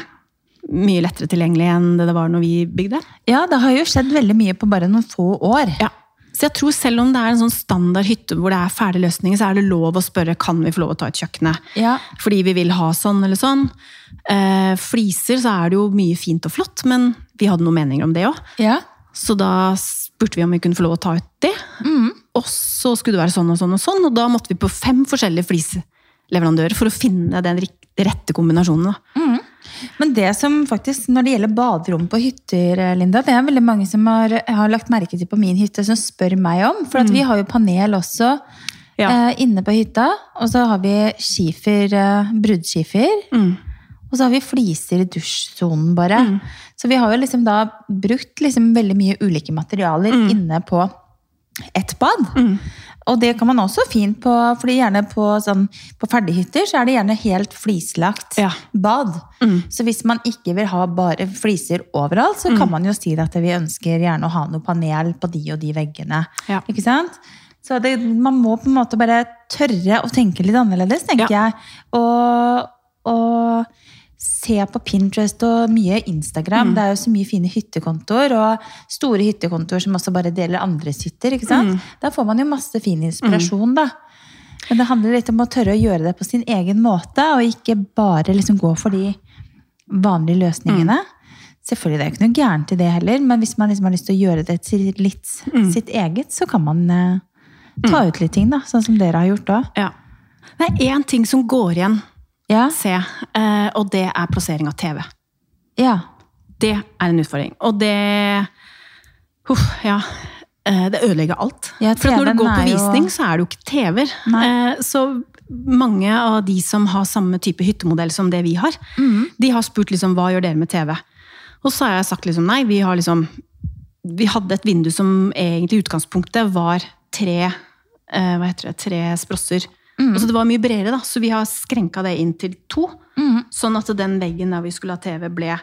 Speaker 2: mye lettere tilgjengelig enn det det var når vi bygde.
Speaker 1: ja, det har jo skjedd veldig mye på bare noen få år.
Speaker 2: Ja. Så jeg tror selv om det er en sånn standard hytte hvor det er ferdige løsninger, så er det lov å spørre kan vi få lov å ta ut kjøkkenet.
Speaker 1: Ja.
Speaker 2: Fordi vi vil ha sånn eller sånn. Eh, fliser så er det jo mye fint og flott, men vi hadde noen meninger om det òg.
Speaker 1: Ja.
Speaker 2: Så da spurte vi om vi kunne få lov å ta ut det. Og så skulle det være sånn og sånn og sånn, og da måtte vi på fem forskjellige flisleverandører for å finne den rik- rette kombinasjonen. da.
Speaker 1: Men det som faktisk, når det gjelder baderom på hytter, eh, Linda, det er veldig mange som har, har lagt merke til på min hytte, som spør meg om. For at vi har jo panel også
Speaker 2: Mm. Ja.
Speaker 1: eh, inne på hytta. Og så har vi skifer, eh, bruddskifer. Og så har vi fliser i dusjsonen, bare.
Speaker 2: Mm.
Speaker 1: Så vi har jo liksom da brukt liksom veldig mye ulike materialer
Speaker 2: Mm.
Speaker 1: inne på ett bad. Og det kan man også fint på, fordi gjerne på, sånn, på ferdighytter så er det gjerne helt flislagt
Speaker 2: Ja.
Speaker 1: bad.
Speaker 2: mm.
Speaker 1: Så hvis man ikke vil ha bare fliser overalt, så kan man jo si at vi ønsker gjerne å ha noe panel på de og de veggene.
Speaker 2: Ja.
Speaker 1: Ikke sant? Så det, man må på en måte bare tørre å tenke litt annerledes, tenker jeg. Og, og se på Pinterest og mye Instagram. Det er jo så mye fine hyttekontoer, og store hyttekontoer som også bare deler andres hytter. ikke sant? Der får man jo masse fin inspirasjon, da. Men det handler litt om å tørre å gjøre det på sin
Speaker 2: Mm.
Speaker 1: egen måte, og ikke bare liksom gå for de vanlige løsningene. Selvfølgelig, det er jo ikke noe gærent i det heller, men hvis man liksom har lyst til å gjøre det til litt
Speaker 2: Mm.
Speaker 1: sitt eget, så kan man eh, ta ut litt ting, da. Sånn som dere har gjort da.
Speaker 2: Ja. Det er én ting som går igjen,
Speaker 1: Ja.
Speaker 2: ser jeg, eh, og det er plassering av TV.
Speaker 1: ja.
Speaker 2: Det er en utfordring. Og det Huff, ja. Eh, Det ødelegger alt.
Speaker 1: Ja,
Speaker 2: For at når
Speaker 1: TV-en
Speaker 2: du går på
Speaker 1: er jo-
Speaker 2: visning, så er det jo ikke TV-er.
Speaker 1: Nei.
Speaker 2: Eh, Så mange av de som har samme type hyttemodell som det vi har,
Speaker 1: Mhm.
Speaker 2: de har spurt liksom, hva gjør dere med TV? Og så har jeg sagt liksom nei, vi har liksom Vi hadde et vindu som egentlig i utgangspunktet var tre eh, hva heter det, tre sprosser.
Speaker 1: Mhm.
Speaker 2: Og så det var mye bredere, da, så vi har skrenka det inn til to.
Speaker 1: Mm.
Speaker 2: Sånn at den veggen der vi skulle ha TV, ble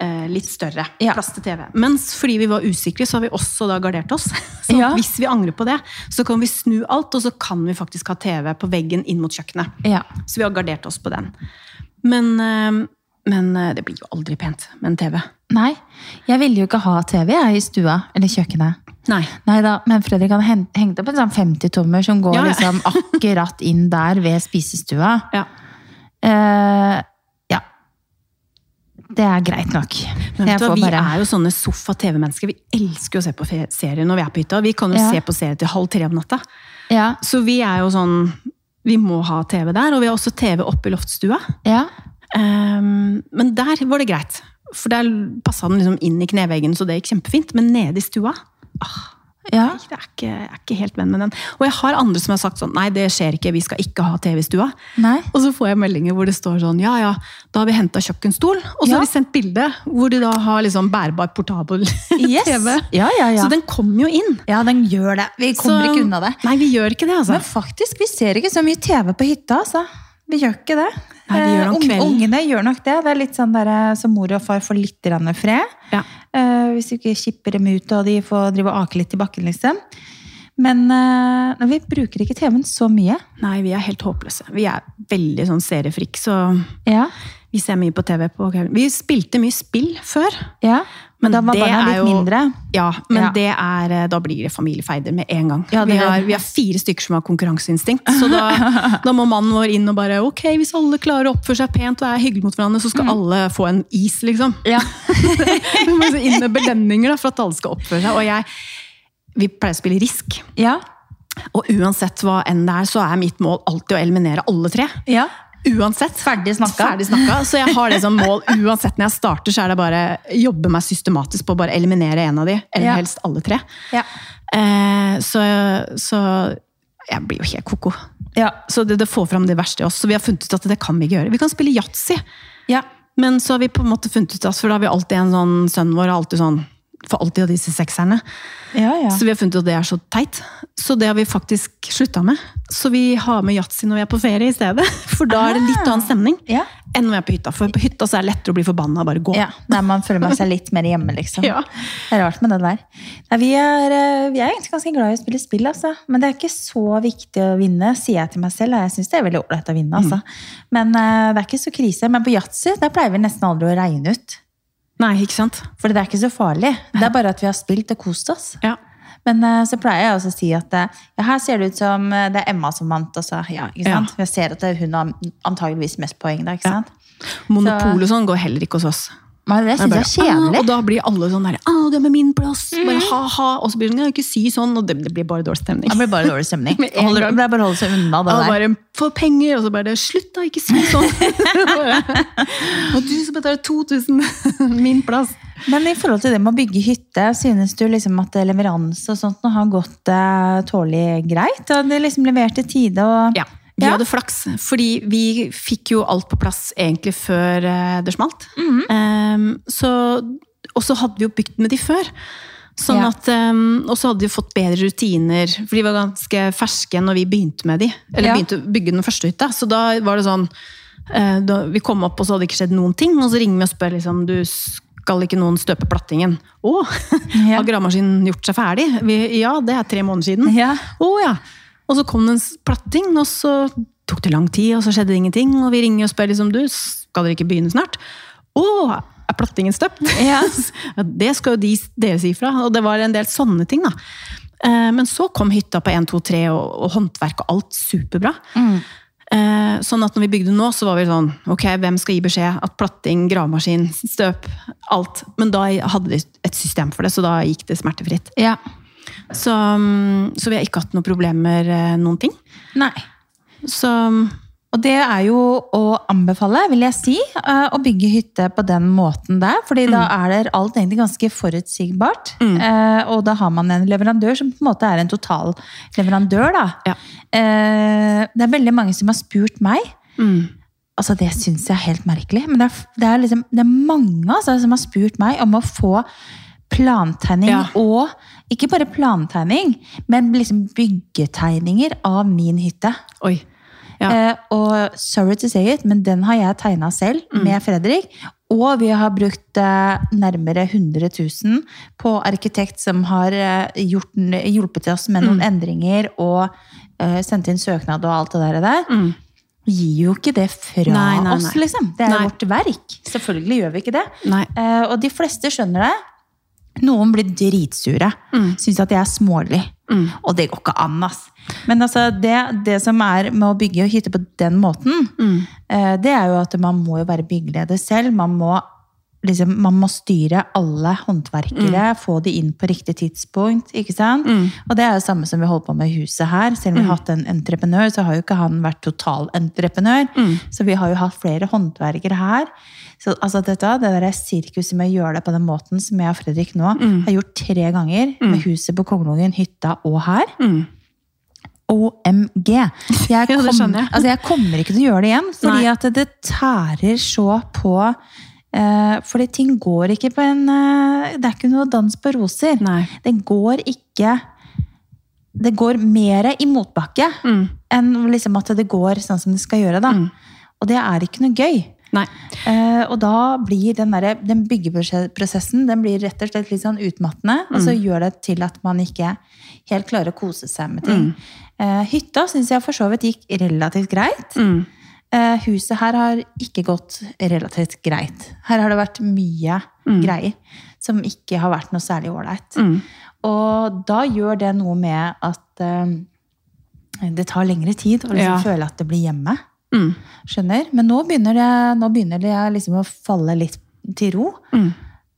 Speaker 2: eh, litt større.
Speaker 1: Ja.
Speaker 2: Plass til TV. Mens fordi vi var usikre, så har vi også da gardert oss. Så
Speaker 1: Ja.
Speaker 2: hvis vi angrer på det, så kan vi snu alt, og så kan vi faktisk ha TV på veggen inn mot kjøkkenet.
Speaker 1: ja.
Speaker 2: Så vi har gardert oss på den. Men, eh, men eh, det blir jo aldri pent med en TV.
Speaker 1: Nei. Jeg ville jo ikke ha TV jeg, i stua eller kjøkkenet.
Speaker 2: Nei.
Speaker 1: Nei da, men Fredrik han hen- hengte opp en sånn 50-tommer som går
Speaker 2: Ja, ja.
Speaker 1: liksom akkurat inn der ved spisestua.
Speaker 2: Ja.
Speaker 1: Eh, ja. Det er greit nok.
Speaker 2: Men vet
Speaker 1: Jeg
Speaker 2: du, hva,
Speaker 1: får
Speaker 2: vi
Speaker 1: bare-
Speaker 2: er jo sånne sofa-TV-mennesker. Vi elsker å se på fe- serier når vi er på hytta. Vi kan jo
Speaker 1: Ja.
Speaker 2: se på serier til halv tre om natta.
Speaker 1: Ja,
Speaker 2: Så vi er jo sånn Vi må ha TV der. Og vi har også TV oppe i loftstua.
Speaker 1: ja,
Speaker 2: Ehm, men der var det greit. For der passa den liksom inn i kneveggen, så det gikk kjempefint. Men nede i stua
Speaker 1: ja.
Speaker 2: nei, det er ikke, jeg er ikke helt venn med den. Og jeg har andre som har sagt sånn Nei, det skjer ikke. Vi skal ikke ha TV i stua.
Speaker 1: Nei.
Speaker 2: Og så får jeg meldinger hvor det står sånn Ja, ja, da har vi henta kjøkkenstol. Og så
Speaker 1: Ja.
Speaker 2: har de sendt bilde hvor de da har liksom bærbar, portabel
Speaker 1: Yes.
Speaker 2: TV.
Speaker 1: Ja, ja, ja.
Speaker 2: Så den kom jo inn.
Speaker 1: Ja, den gjør det. Vi kommer
Speaker 2: Så-
Speaker 1: ikke unna det.
Speaker 2: Nei, vi gjør ikke det, altså.
Speaker 1: Men faktisk, vi ser ikke så mye TV på hytta, altså. Vi gjør ikke det.
Speaker 2: Nei, de gjør det
Speaker 1: Eh,
Speaker 2: om
Speaker 1: ung-
Speaker 2: kvelden.
Speaker 1: Ungene gjør nok det. Det er litt sånn der, eh, så mor og far får litt grann fred.
Speaker 2: Ja.
Speaker 1: Eh, hvis du ikke kipper dem ut, og de får drive og ake litt i bakken, liksom. Men eh, nei, vi bruker ikke TV-en så mye.
Speaker 2: Nei, vi er helt håpløse. Vi er veldig sånn seriefrik, så
Speaker 1: Ja,
Speaker 2: vi ser mye på TV på kvelden. Vi spilte mye spill før.
Speaker 1: ja. Men,
Speaker 2: Men
Speaker 1: da var
Speaker 2: det
Speaker 1: barna
Speaker 2: er
Speaker 1: litt
Speaker 2: jo-
Speaker 1: mindre.
Speaker 2: Ja, men
Speaker 1: Ja.
Speaker 2: det er, eh, da blir det familiefeider med en gang.
Speaker 1: Ja, det
Speaker 2: vi,
Speaker 1: gjør
Speaker 2: har,
Speaker 1: det.
Speaker 2: vi har fire stykker som har konkurranseinstinkt, så da, da må mannen vår inn og bare ok, hvis alle klarer å oppføre seg pent og er hyggelige mot hverandre, så
Speaker 1: Mm.
Speaker 2: skal alle få en is, liksom.
Speaker 1: Ja.
Speaker 2: Vi må så inn med belønninger da, for at alle skal oppføre seg. Og jeg, vi pleier å spille risk,
Speaker 1: Ja.
Speaker 2: og uansett hva enn det er, så er mitt mål alltid å eliminere alle tre.
Speaker 1: ja.
Speaker 2: Uansett.
Speaker 1: Ferdig snakka.
Speaker 2: Ferdig snakka. Så jeg har det som mål uansett når jeg starter, så er det bare jobbe meg systematisk på å bare eliminere en av de, eller
Speaker 1: Ja.
Speaker 2: helst alle tre.
Speaker 1: Ja.
Speaker 2: Eh, så, så jeg blir jo helt koko.
Speaker 1: Ja.
Speaker 2: Så det, det får fram det verste i oss. Så vi har funnet ut at det kan vi ikke gjøre. Vi kan spille yatzy,
Speaker 1: Ja.
Speaker 2: men så har vi på en måte funnet ut at for da har vi alltid en sånn sønnen vår har alltid sånn for alltid av disse sekserne.
Speaker 1: Ja, ja.
Speaker 2: Så vi har funnet ut at det er så teit. Så det har vi faktisk slutta med. Så vi har med yatzy når vi er på ferie i stedet. For da er det litt annen stemning
Speaker 1: Ah. Ja.
Speaker 2: enn når jeg er på hytta. For på hytta så er det lettere å bli forbanna og bare gå.
Speaker 1: Ja, der man føler man seg litt mer hjemme, liksom.
Speaker 2: Ja.
Speaker 1: Det er rart med det der. Nei, vi, er, eh, vi er egentlig ganske glad i å spille spill, altså. Men det er ikke så viktig å vinne, sier jeg til meg selv. Og jeg syns det er veldig ålreit å vinne,
Speaker 2: Mm.
Speaker 1: altså. Men eh, det er ikke så krise. Men på yatzy, der pleier vi nesten aldri å regne ut.
Speaker 2: Nei, ikke sant?
Speaker 1: For det er ikke så farlig. Det er bare at vi har spilt og kost oss.
Speaker 2: Ja.
Speaker 1: Men eh, så pleier jeg også å si at eh, ja, her ser det ut som eh, det er Emma som vant. Altså, ja, ikke
Speaker 2: Ja.
Speaker 1: sant? For Jeg ser at det er hun har antageligvis mest poeng da, ikke sant?
Speaker 2: Monopol og sånn går heller ikke hos oss.
Speaker 1: Men det syns jeg er
Speaker 2: bare, «Ah»,
Speaker 1: kjedelig. Mm.
Speaker 2: og da blir alle sånn derre 'Å, det er med min plass!' Bare ha-ha. Og så blir det sånn «Ja, 'Ikke si sånn', og det, det blir bare dårlig stemning.
Speaker 1: Det blir bare dårlig stemning.
Speaker 2: Med en
Speaker 1: Holder,
Speaker 2: gang.
Speaker 1: det er bare å holde seg unna det
Speaker 2: og
Speaker 1: der.
Speaker 2: bare 'Få penger', og så bare 'Slutt, da! Ikke si sånn'. og du som betaler 2000. min plass.
Speaker 1: Men i forhold til det med å bygge hytte, synes du liksom at leveranse og sånt nå har gått eh, tålelig greit? Og det liksom levert i tide og
Speaker 2: Ja. Vi
Speaker 1: Ja.
Speaker 2: hadde flaks, fordi vi fikk jo alt på plass egentlig før eh, det smalt.
Speaker 1: Mhm.
Speaker 2: Ehm, så, og så hadde vi jo bygd med de før. Sånn
Speaker 1: Ja.
Speaker 2: at, ehm, og så hadde vi fått bedre rutiner, for de var ganske ferske når vi begynte med de. Eller
Speaker 1: Ja.
Speaker 2: begynte å bygge den første hytta. Så da var det sånn eh, da, Vi kom opp, og så hadde det ikke skjedd noen ting. Og så ringer vi og spør liksom Du skal ikke noen støpe plattingen? Å!
Speaker 1: Ja.
Speaker 2: Har gravemaskinen gjort seg ferdig? Vi, ja, det er tre måneder siden.
Speaker 1: Ja.
Speaker 2: Å ja. Og så kom det en s- platting, og så tok det lang tid, og så skjedde det ingenting. Og vi ringer og spør liksom, du, skal dere ikke begynne snart? Å, er plattingen støpt?
Speaker 1: Ja.
Speaker 2: Ja, det skal jo de, dere si fra. Og det var en del sånne ting, da.
Speaker 1: Mm.
Speaker 2: Eh, Men så kom hytta på 1, 2, 3 og, og håndverk og alt superbra. Eh, sånn at når vi bygde nå, så var vi sånn Ok, hvem skal gi beskjed? At platting, gravemaskin, støp, alt. Men da hadde vi et system for det, så da gikk det smertefritt.
Speaker 1: Ja.
Speaker 2: Så, mm, så vi har ikke hatt noen problemer, eh, noen ting.
Speaker 1: Nei.
Speaker 2: Så
Speaker 1: Og det er jo å anbefale, vil jeg si, eh, å bygge hytte på den måten der. fordi da er det alt egentlig ganske forutsigbart. Eh, Og da har man en leverandør som på en måte er en totalleverandør, da.
Speaker 2: Ja.
Speaker 1: Eh, Det er veldig mange som har spurt meg.
Speaker 2: mm,
Speaker 1: Altså, det syns jeg er helt merkelig. Men det er, det er, liksom, det er mange altså, som har spurt meg om å få plantegning
Speaker 2: Ja.
Speaker 1: og Ikke bare plantegning, men liksom byggetegninger av min hytte.
Speaker 2: Oi. Ja.
Speaker 1: Eh, og sorry to say it, men den har jeg tegna selv
Speaker 2: Mm.
Speaker 1: med Fredrik. Og vi har brukt eh, nærmere 100 000 på arkitekt som har eh, gjort, n- hjulpet oss med noen
Speaker 2: Mm.
Speaker 1: endringer og eh, sendt inn søknad og alt det der. der.
Speaker 2: Mm.
Speaker 1: Gir jo ikke det fra
Speaker 2: Nei, nei,
Speaker 1: oss,
Speaker 2: nei.
Speaker 1: liksom. Det er
Speaker 2: Nei.
Speaker 1: vårt verk. Selvfølgelig gjør vi ikke det.
Speaker 2: Nei.
Speaker 1: Eh, og de fleste skjønner det. Noen blir dritsure.
Speaker 2: Mm.
Speaker 1: Syns at jeg er smålig.
Speaker 2: Mm.
Speaker 1: Og det går ikke an, ass. Men altså, det, det som er med å bygge hytte på den måten,
Speaker 2: Mm.
Speaker 1: eh, det er jo at man må jo være byggeleder selv. Man må, liksom, man må styre alle håndverkere, få de inn på riktig tidspunkt. ikke sant?
Speaker 2: Mm.
Speaker 1: Og det er jo samme som vi holder på med huset her. Selv om vi har hatt en entreprenør, så har jo ikke han vært totalentreprenør.
Speaker 2: Mm.
Speaker 1: Så vi har jo hatt flere håndverkere her. Så altså, dette, det der sirkuset med å gjøre det på den måten som jeg og Fredrik nå
Speaker 2: Mm.
Speaker 1: har gjort tre ganger, med huset på Kongelungen, hytta og her.
Speaker 2: Mm.
Speaker 1: OMG. Jeg,
Speaker 2: det
Speaker 1: kom,
Speaker 2: skjønner jeg.
Speaker 1: altså jeg kommer ikke til å gjøre det igjen, fordi
Speaker 2: Nei.
Speaker 1: at det tærer så på eh, Fordi ting går ikke på en eh, Det er ikke noe dans på roser.
Speaker 2: Nei.
Speaker 1: Det går ikke Det går mer i motbakke
Speaker 2: Mm.
Speaker 1: enn liksom at det går sånn som det skal gjøre. da.
Speaker 2: Mm.
Speaker 1: Og det er ikke noe gøy.
Speaker 2: Nei.
Speaker 1: Eh, og da blir den, derre- den byggeprosessen den blir rett og slett litt sånn utmattende. Og
Speaker 2: Mm.
Speaker 1: så gjør det til at man ikke helt klarer å kose seg med
Speaker 2: Mm.
Speaker 1: ting. Eh, hytta syns jeg for så vidt gikk relativt greit.
Speaker 2: Mm.
Speaker 1: Eh, huset her har ikke gått relativt greit. Her har det vært mye greier som ikke har vært noe særlig ålreit.
Speaker 2: Mm.
Speaker 1: Og da gjør det noe med at eh, det tar lengre tid å liksom
Speaker 2: Ja.
Speaker 1: føle at det blir hjemme.
Speaker 2: Mm.
Speaker 1: Skjønner. Men nå begynner det, nå begynner det liksom å falle litt til ro.
Speaker 2: Mm.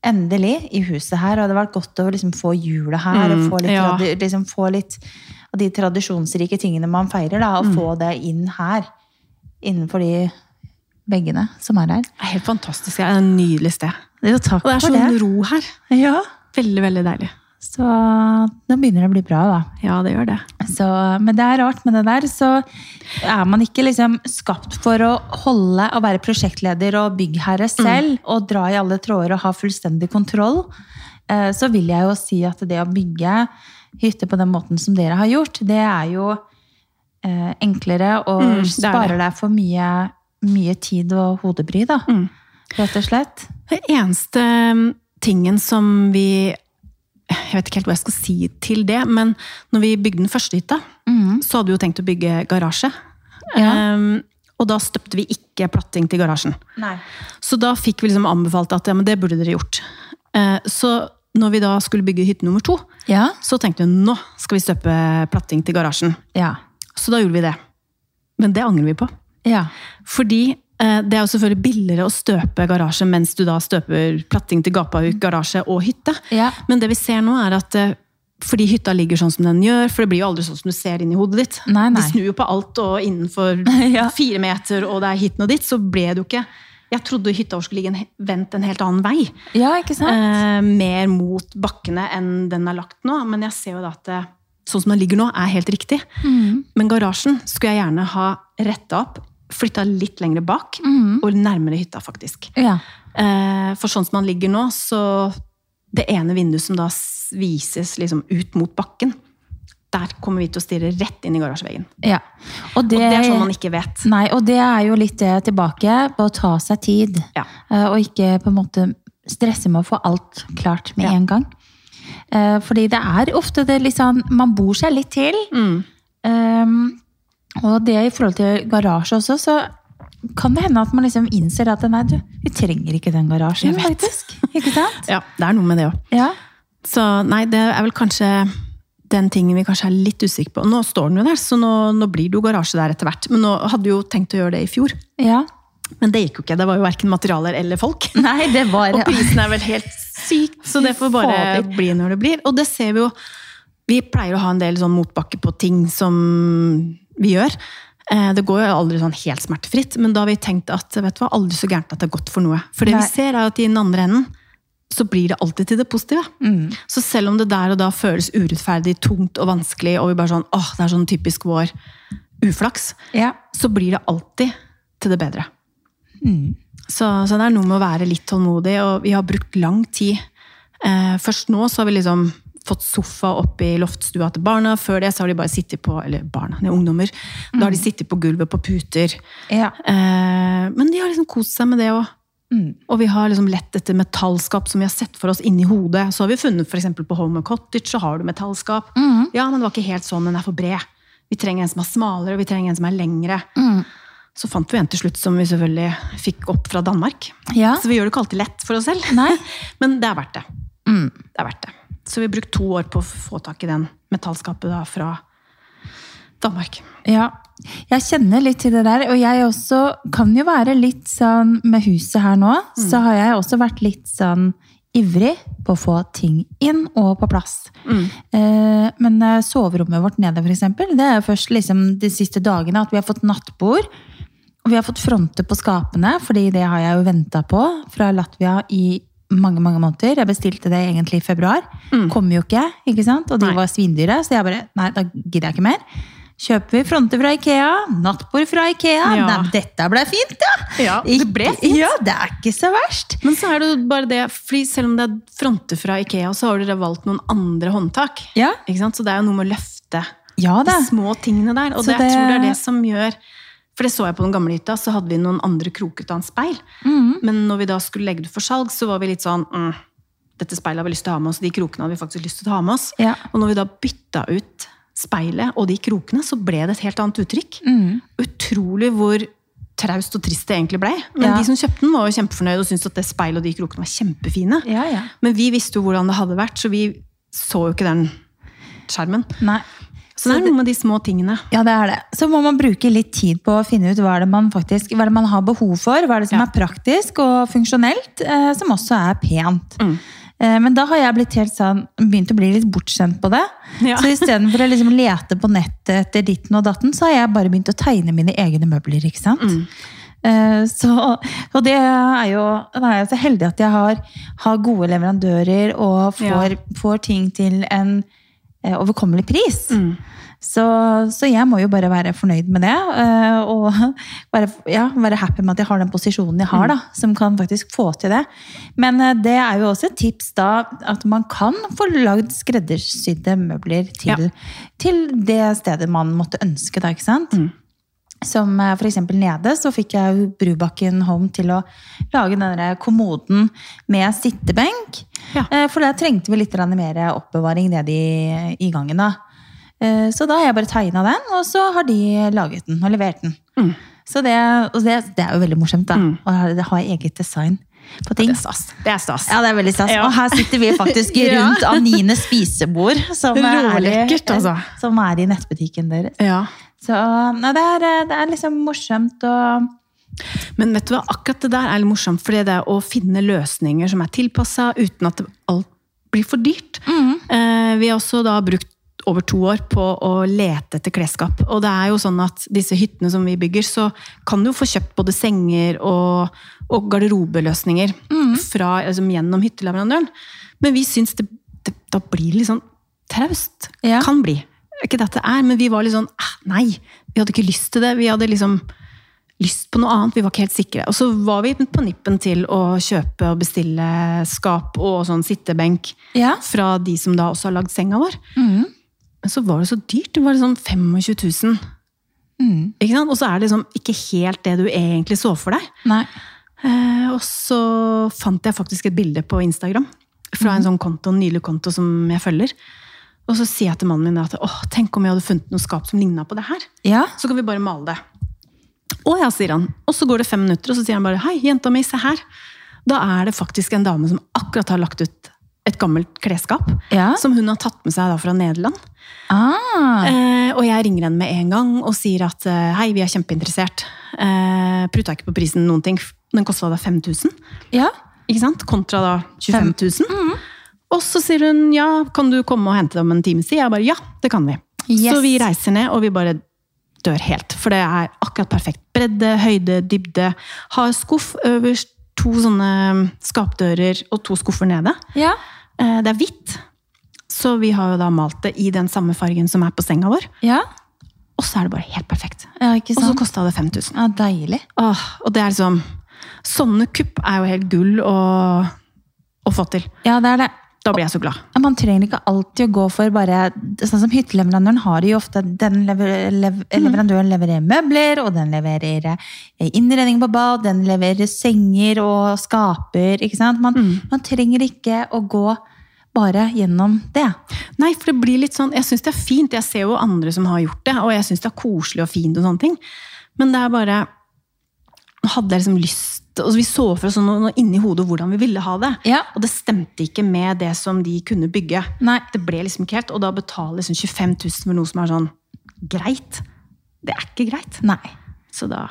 Speaker 1: Endelig, i huset her. Og det har vært godt å liksom få jula her. og
Speaker 2: Mm,
Speaker 1: få litt,
Speaker 2: ja.
Speaker 1: tradi- liksom få litt av de tradisjonsrike tingene man feirer, da,
Speaker 2: Mm.
Speaker 1: og få det inn her. Innenfor de veggene som er her.
Speaker 2: Det er helt fantastisk. Det er et nydelig sted.
Speaker 1: Jo, takk
Speaker 2: Og det er
Speaker 1: for
Speaker 2: sånn
Speaker 1: det.
Speaker 2: ro her.
Speaker 1: Ja.
Speaker 2: Veldig, veldig deilig.
Speaker 1: Så nå begynner det å bli bra, da.
Speaker 2: Ja, det gjør det.
Speaker 1: Så, men det er rart med det der. Så er man ikke liksom skapt for å holde og være prosjektleder og byggherre
Speaker 2: Mm.
Speaker 1: selv, og dra i alle tråder og ha fullstendig kontroll, eh, så vil jeg jo si at det å bygge hytte på den måten som dere har gjort, det er jo eh, enklere og
Speaker 2: Mm, det er
Speaker 1: sparer deg for mye, mye tid og hodebry, da.
Speaker 2: Mm.
Speaker 1: Rett og slett.
Speaker 2: Den eneste mm, tingen som vi Jeg vet ikke helt hva jeg skal si til det, men når vi bygde den første hytta,
Speaker 1: Mm.
Speaker 2: så hadde vi jo tenkt å bygge garasje.
Speaker 1: Ja.
Speaker 2: Ehm, og da støpte vi ikke platting til garasjen.
Speaker 1: Nei.
Speaker 2: Så da fikk vi liksom anbefalt at ja, men det burde dere gjort. Eh, så når vi da skulle bygge hytte nummer to,
Speaker 1: Ja.
Speaker 2: så tenkte vi nå skal vi støpe platting til garasjen.
Speaker 1: Ja.
Speaker 2: Så da gjorde vi det. Men det angrer vi på.
Speaker 1: Ja.
Speaker 2: Fordi eh, det er jo selvfølgelig billigere å støpe garasje mens du da støper platting til gapahuk, garasje og hytte.
Speaker 1: Ja.
Speaker 2: Men det vi ser nå er at eh, fordi hytta ligger sånn som den gjør, for det blir jo aldri sånn som du ser inn i hodet ditt.
Speaker 1: Nei, nei.
Speaker 2: De snur jo på alt, og innenfor
Speaker 1: Ja.
Speaker 2: fire meter, og det er hit og dit, så ble det jo ikke Jeg trodde hytta vår skulle ligge en, he- vendt en helt annen vei.
Speaker 1: ja, ikke sant?
Speaker 2: Eh, mer mot bakkene enn den er lagt nå. Men jeg ser jo da at det, sånn som den ligger nå, er helt riktig. Men garasjen skulle jeg gjerne ha retta opp, flytta litt lenger bak og nærmere hytta, faktisk.
Speaker 1: ja.
Speaker 2: Eh, for sånn som den ligger nå, så det ene vinduet som da s- vises liksom ut mot bakken, der kommer vi til å stirre rett inn i garasjeveggen.
Speaker 1: ja. Og
Speaker 2: Og det er sånn man ikke vet.
Speaker 1: Nei, og det er jo litt det tilbake på å ta seg tid.
Speaker 2: Ja.
Speaker 1: Eh, Og ikke på en måte stresse med å få alt klart med
Speaker 2: Ja.
Speaker 1: en gang. Eh, Fordi det er ofte det litt sånn Man bor seg litt til.
Speaker 2: Mm.
Speaker 1: Ehm, og det i forhold til garasje også, så kan det hende at man liksom innser at nei, du, vi trenger ikke den garasjen,
Speaker 2: Jeg vet.
Speaker 1: faktisk. Ikke sant?
Speaker 2: Ja, det er noe med det òg.
Speaker 1: Ja.
Speaker 2: Så nei, det er vel kanskje den tingen vi kanskje er litt usikre på. Nå står den jo der, så nå, nå blir det jo garasje der etter hvert. Men nå hadde jo tenkt å gjøre det i fjor.
Speaker 1: Ja.
Speaker 2: Men det gikk jo ikke. Det var jo verken materialer eller folk.
Speaker 1: Nei, det var
Speaker 2: Og prisen er vel helt syk, så det får bare
Speaker 1: Fader.
Speaker 2: bli når det blir. Og det ser vi jo. Vi pleier å ha en del sånn motbakke på ting som vi gjør. Eh, Det går jo aldri sånn helt smertefritt, men da har vi tenkt at vet du hva, aldri så gærent at det er godt for noe. For det
Speaker 1: Nei.
Speaker 2: vi ser er at i den andre enden, så blir det alltid til det positive.
Speaker 1: Mm.
Speaker 2: Så selv om det der og da føles urettferdig, tungt og vanskelig, og vi bare sånn, åh, det er sånn typisk vår uflaks,
Speaker 1: Ja.
Speaker 2: så blir det alltid til det bedre.
Speaker 1: Mm.
Speaker 2: Så, så det er noe med å være litt tålmodig, og vi har brukt lang tid. Eh, først nå så har vi liksom fått sofa opp i loftstua til barna. Før det så har de bare sittet på eller barna, det er ungdommer, da har de sittet på gulvet på puter.
Speaker 1: ja.
Speaker 2: Eh, men de har liksom kost seg med det òg.
Speaker 1: Mm.
Speaker 2: Og vi har liksom lett etter metallskap som vi har sett for oss inni hodet. Så har vi funnet for eksempel på Home and Cottage, så har du metallskap.
Speaker 1: Mm.
Speaker 2: Ja, men det var ikke helt sånn, den er for bred. Vi trenger en som er smalere, og vi trenger en som er lengre.
Speaker 1: Mm.
Speaker 2: Så fant vi en til slutt som vi selvfølgelig fikk opp fra Danmark.
Speaker 1: Ja.
Speaker 2: Så vi gjør det ikke alltid lett for oss selv.
Speaker 1: Nei.
Speaker 2: Men det er verdt det.
Speaker 1: Mm.
Speaker 2: Det er verdt det. Så vi har brukt to år på å få tak i den metallskapet da, fra Danmark.
Speaker 1: Ja, jeg kjenner litt til det der, og jeg også kan jo være litt sånn med huset her nå, så har jeg også vært litt sånn ivrig på å få ting inn og på plass. Eh, men eh, soverommet vårt nede for eksempel, det er jo først liksom de siste dagene at vi har fått nattbord, og vi har fått fronter på skapene, fordi det har jeg jo ventet på fra Latvia i mange, mange måneder. Jeg bestilte det egentlig i februar. Kom jo ikke, ikke sant? Og de
Speaker 2: Mm. Nei.
Speaker 1: var svindyre, så jeg bare, nei, da gidder jeg ikke mer. Kjøper vi fronter fra Ikea, nattbord fra Ikea.
Speaker 2: Ja.
Speaker 1: Nei, dette ble fint, ja!
Speaker 2: Ja, det ble
Speaker 1: Ikke- Ja, det er ikke så verst.
Speaker 2: Men så er det jo bare det, fordi selv om det er fronter fra Ikea, så har dere valgt noen andre håndtak.
Speaker 1: Ja,
Speaker 2: Ikke sant? Så det er jo noe med å løfte
Speaker 1: ja
Speaker 2: de
Speaker 1: da.
Speaker 2: små tingene der. Og
Speaker 1: Så
Speaker 2: det, jeg
Speaker 1: det-
Speaker 2: tror det er det som gjør For det så jeg på den gamle hytta, så hadde vi noen andre krokete av en speil.
Speaker 1: Mhm.
Speaker 2: Men når vi da skulle legge det ut for salg, så var vi litt sånn mm, Dette speilet har vi lyst til å ha med oss, de krokene hadde vi faktisk lyst til å ha med oss.
Speaker 1: Ja.
Speaker 2: Og når vi da bytta ut speilet og de krokene, så ble det et helt annet uttrykk.
Speaker 1: Mm.
Speaker 2: Utrolig hvor traust og trist det egentlig ble. Men
Speaker 1: Ja.
Speaker 2: de som kjøpte den, var jo kjempefornøyde og syntes at det speilet og de krokene var kjempefine.
Speaker 1: Ja, ja.
Speaker 2: Men vi visste jo hvordan det hadde vært, så vi så jo ikke den skjermen.
Speaker 1: Nei.
Speaker 2: Så det er noe med de små tingene.
Speaker 1: Ja, det er det. Så må man bruke litt tid på å finne ut hva er det man faktisk hva er det man har behov for. Hva er det som
Speaker 2: Ja.
Speaker 1: er praktisk og funksjonelt, eh, som også er pent.
Speaker 2: Mm.
Speaker 1: Eh, men da har jeg blitt helt sånn, begynt å bli litt bortskjemt på det.
Speaker 2: Ja.
Speaker 1: Så istedenfor å liksom lete på nettet etter ditten og datten, så har jeg bare begynt å tegne mine egne møbler. ikke sant?
Speaker 2: Mm.
Speaker 1: Eh, Så, og det er jo Da er jeg så heldig at jeg har, har gode leverandører og får, får ting til en eh, overkommelig pris.
Speaker 2: Mm.
Speaker 1: Så, så jeg må jo bare være fornøyd med det. eh, Og være, ja, være happy med at jeg har den posisjonen jeg
Speaker 2: Mm.
Speaker 1: har, da, som kan faktisk få til det. Men eh, det er jo også et tips da, at man kan få lagd skreddersydde møbler til,
Speaker 2: Ja.
Speaker 1: til det stedet man måtte ønske, da, ikke sant?
Speaker 2: Mm.
Speaker 1: Som eh, for eksempel nede, så fikk jeg jo Brubakken Home til å lage den der kommoden med sittebenk.
Speaker 2: Ja.
Speaker 1: Eh, For der trengte vi litt grann mer oppbevaring nede i, i gangen da. Eh, Så da har jeg bare tegna den, og så har de laget den og levert den.
Speaker 2: Mm.
Speaker 1: Så det, og det, det er jo veldig morsomt, da.
Speaker 2: Mm.
Speaker 1: Og det har jeg eget design på ting.
Speaker 2: Det er stas. Det er stas.
Speaker 1: Ja, det er veldig stas.
Speaker 2: Ja.
Speaker 1: Og her sitter vi faktisk
Speaker 2: Ja.
Speaker 1: rundt Anines spisebord, som er, eh,
Speaker 2: Rålekkert, altså.
Speaker 1: som er i nettbutikken deres.
Speaker 2: Ja.
Speaker 1: Så nei, det, er, eh, det er liksom morsomt og
Speaker 2: Men vet du hva, akkurat det der er litt morsomt, fordi det er å finne løsninger som er tilpassa, uten at det alt blir for dyrt. Eh, vi har også da brukt over to år på å lete etter klesskap. Og det er jo sånn at disse hyttene som vi bygger, så kan du jo få kjøpt både senger og, og garderobeløsninger fra, altså, gjennom hytteleverandøren. Men vi syns det, det da blir det litt sånn traust.
Speaker 1: Ja.
Speaker 2: Kan bli. Ikke dette er, men vi var litt sånn "Ah, Nei, vi hadde ikke lyst til det. Vi hadde liksom lyst på noe annet. Vi var ikke helt sikre. Og så var vi på nippen til å kjøpe og bestille skap og sånn sittebenk
Speaker 1: Ja.
Speaker 2: fra de som da også har lagd senga vår.
Speaker 1: Mm.
Speaker 2: Men så var det så dyrt. Det var sånn 25 000.
Speaker 1: Mm.
Speaker 2: Ikke sant? Og så er det liksom ikke helt det du egentlig så for deg.
Speaker 1: Nei.
Speaker 2: Eh, og så fant jeg faktisk et bilde på Instagram fra en sånn konto, en nylig konto som jeg følger. Og så sier jeg til mannen min at åh, tenk om jeg hadde funnet noe skap som ligna på det her.
Speaker 1: Ja.
Speaker 2: Så kan vi bare male det. Å ja, sier han. Og så går det fem minutter, og så sier han bare hei, jenta mi, se her. Da er det faktisk en dame som akkurat har lagt ut et gammelt klesskap.
Speaker 1: Ja.
Speaker 2: Som hun har tatt med seg da fra Nederland.
Speaker 1: Ah,
Speaker 2: Eh, og jeg ringer henne med en gang og sier at eh, hei, vi er kjempeinteressert. Eh, Pruta ikke på prisen noen ting. Den kosta da 5000,
Speaker 1: ja.
Speaker 2: ikke sant? Kontra da 25 000.
Speaker 1: Mm.
Speaker 2: Og så sier hun ja, kan du komme og hente det om en times tid? Jeg bare ja, det kan vi.
Speaker 1: Yes.
Speaker 2: Så vi reiser ned, og vi bare dør helt. For det er akkurat perfekt. Bredde, høyde, dybde. Har skuff øverst, to sånne skapdører og to skuffer nede.
Speaker 1: ja.
Speaker 2: Eh, Det er hvitt. Så vi har jo da malt det i den samme fargen som er på senga vår.
Speaker 1: Ja.
Speaker 2: Og så er det bare helt perfekt.
Speaker 1: Ja, ikke
Speaker 2: Og så
Speaker 1: sant?
Speaker 2: kosta det 5000.
Speaker 1: Ja, deilig.
Speaker 2: Åh, og det er liksom Sånne kupp er jo helt gull å, å få til.
Speaker 1: Ja, det er det.
Speaker 2: Da blir jeg så glad.
Speaker 1: Ja, Man trenger ikke alltid å gå for bare Sånn som hytteleverandøren har jo ofte Den lever, lev, leverandøren leverer møbler, og den leverer eh, innredning på bad, den leverer senger og skaper, ikke sant? Man, man trenger ikke å gå bare gjennom det.
Speaker 2: Nei, for det blir litt sånn Jeg syns det er fint. Jeg ser jo andre som har gjort det, og jeg syns det er koselig og fint og sånne ting. Men det er bare nå Hadde jeg liksom lyst og Vi så for oss sånn noe inni hodet hvordan vi ville ha det.
Speaker 1: Ja.
Speaker 2: Og det stemte ikke med det som de kunne bygge.
Speaker 1: Nei.
Speaker 2: Det ble liksom ikke helt, Og da betale liksom 25 000 for noe som er sånn greit. Det er ikke greit.
Speaker 1: Nei.
Speaker 2: Så da,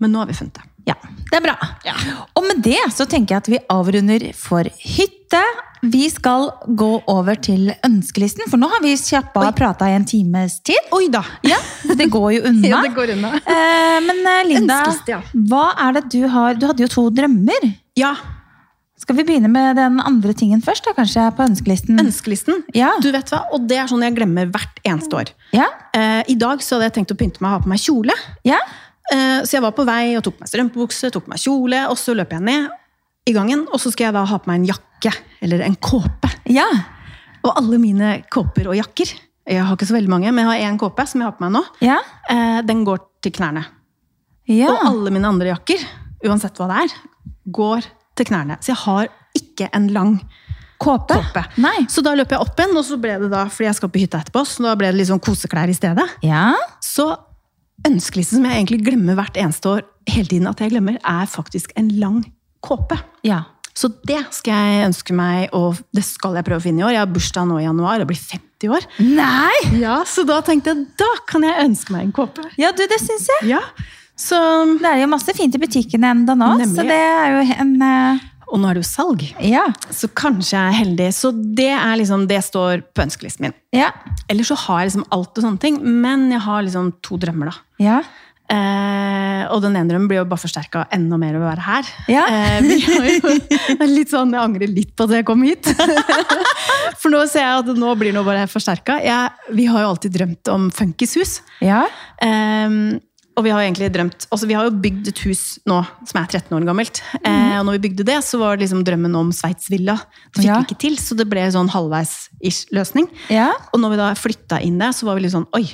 Speaker 2: men nå har vi funnet det.
Speaker 1: Ja, det er bra.
Speaker 2: Ja.
Speaker 1: Og med det så tenker jeg at vi avrunder for hytte. Vi skal gå over til ønskelisten, for nå har vi kjappa og prata i en times tid.
Speaker 2: Oi da!
Speaker 1: Ja, Det går jo unna.
Speaker 2: Ja, det går unna.
Speaker 1: Eh, men eh, Linda,
Speaker 2: Ønskeliste, ja.
Speaker 1: hva er det du har Du hadde jo to drømmer.
Speaker 2: Ja,
Speaker 1: Skal vi begynne med den andre tingen først, da, kanskje, på ønskelisten?
Speaker 2: ønskelisten.
Speaker 1: Ja.
Speaker 2: Du vet hva, Og det er sånn jeg glemmer hvert eneste år.
Speaker 1: Ja?
Speaker 2: Eh, I dag så hadde jeg tenkt å pynte meg og ha på meg kjole.
Speaker 1: Ja?
Speaker 2: Eh, så jeg var på vei og tok på meg strømpebukse, tok på meg kjole, og så løp jeg ned i gangen. Og så skal jeg da ha på meg en jakke, eller en kåpe.
Speaker 1: Ja.
Speaker 2: Og alle mine kåper og jakker Jeg har ikke så veldig mange, men jeg har én kåpe som jeg har på meg nå.
Speaker 1: Ja.
Speaker 2: Eh, den går til knærne.
Speaker 1: ja.
Speaker 2: Og alle mine andre jakker, uansett hva det er, går til knærne. Så jeg har ikke en lang
Speaker 1: Kåpe?
Speaker 2: kåpe.
Speaker 1: Nei.
Speaker 2: Så da løp jeg opp igjen, og så ble det da, fordi jeg skal på hytta etterpå, så da ble det litt sånn koseklær i stedet.
Speaker 1: Ja.
Speaker 2: Så ønskelisten som jeg egentlig glemmer hvert eneste år, hele tiden at jeg glemmer, er faktisk en lang kåpe.
Speaker 1: Ja.
Speaker 2: Så det skal jeg ønske meg, og det skal jeg prøve å finne i år. Jeg har bursdag nå i januar og blir 50 år.
Speaker 1: Nei!
Speaker 2: Ja, Så da tenkte jeg da kan jeg ønske meg en kåpe.
Speaker 1: Ja, du, det syns jeg.
Speaker 2: Ja, så,
Speaker 1: Det er jo masse fint i butikkene enda nå, så
Speaker 2: Nemlig.
Speaker 1: det er jo en eh,
Speaker 2: Og nå er det jo salg,
Speaker 1: Ja.
Speaker 2: så kanskje jeg er heldig. Så det er liksom, det står på ønskelisten min.
Speaker 1: Ja.
Speaker 2: Ellers så har jeg liksom alt og sånne ting, men jeg har liksom to drømmer, da.
Speaker 1: Ja.
Speaker 2: Eh, og den ene drømmen blir jo bare forsterka enda mer ved å være her.
Speaker 1: Ja.
Speaker 2: Eh, vi har jo, det er litt sånn, Jeg angrer litt på at jeg kom hit. For nå ser jeg at nå blir noe bare forsterka. Vi har jo alltid drømt om funkishus.
Speaker 1: Ja.
Speaker 2: Eh, og vi har jo egentlig drømt, altså vi har jo bygd et hus nå som er 13 år gammelt. Eh, og når vi bygde det, så var det liksom drømmen om Sveitsvilla. Det fikk
Speaker 1: Mhm. Ja.
Speaker 2: vi ikke til, så det ble sånn halvveis-ish løsning.
Speaker 1: Ja.
Speaker 2: Og når vi da flytta inn der, så var vi litt sånn Oi,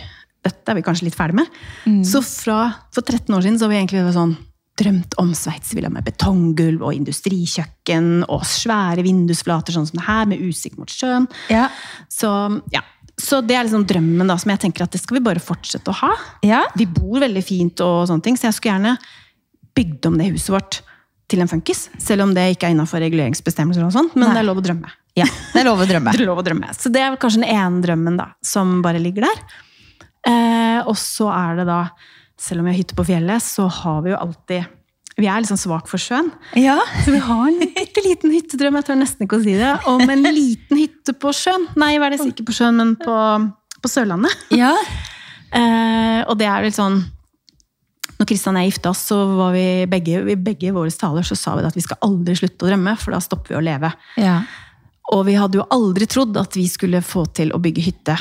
Speaker 2: dette er vi kanskje litt ferdig med.
Speaker 1: Mm.
Speaker 2: Så fra, for 13 år siden så har vi egentlig vært sånn drømt om Sveitsvilla med betonggulv og industrikjøkken og svære vindusflater sånn som det her, med utsikt mot sjøen.
Speaker 1: Ja.
Speaker 2: Så, ja. så det er liksom drømmen, da, som jeg tenker at det skal vi bare fortsette å ha.
Speaker 1: Ja.
Speaker 2: Vi bor veldig fint, og sånne ting, så jeg skulle gjerne bygd om det huset vårt til en funkis. Selv om det ikke er innafor reguleringsbestemmelser, og sånt, men
Speaker 1: Nei.
Speaker 2: det er lov å drømme.
Speaker 1: ja. Det er lov å drømme.
Speaker 2: Det er lov å drømme. Så det er vel kanskje den ene drømmen da, som bare ligger der. Eh, og så er det da, selv om vi har hytte på fjellet, så har vi jo alltid Vi er liksom svak for sjøen.
Speaker 1: Ja.
Speaker 2: Så vi har en bitte liten hyttedrøm, jeg tør nesten ikke å si det, om en liten hytte på sjøen. Nei, hva er det ikke på sjøen, men på, på Sørlandet.
Speaker 1: Ja.
Speaker 2: Eh, og det er vel sånn Når Kristian og jeg gifta oss, så var vi begge, i begge våre taler så sa vi at vi skal aldri slutte å drømme, for da stopper vi å leve.
Speaker 1: Ja.
Speaker 2: Og vi hadde jo aldri trodd at vi skulle få til å bygge hytte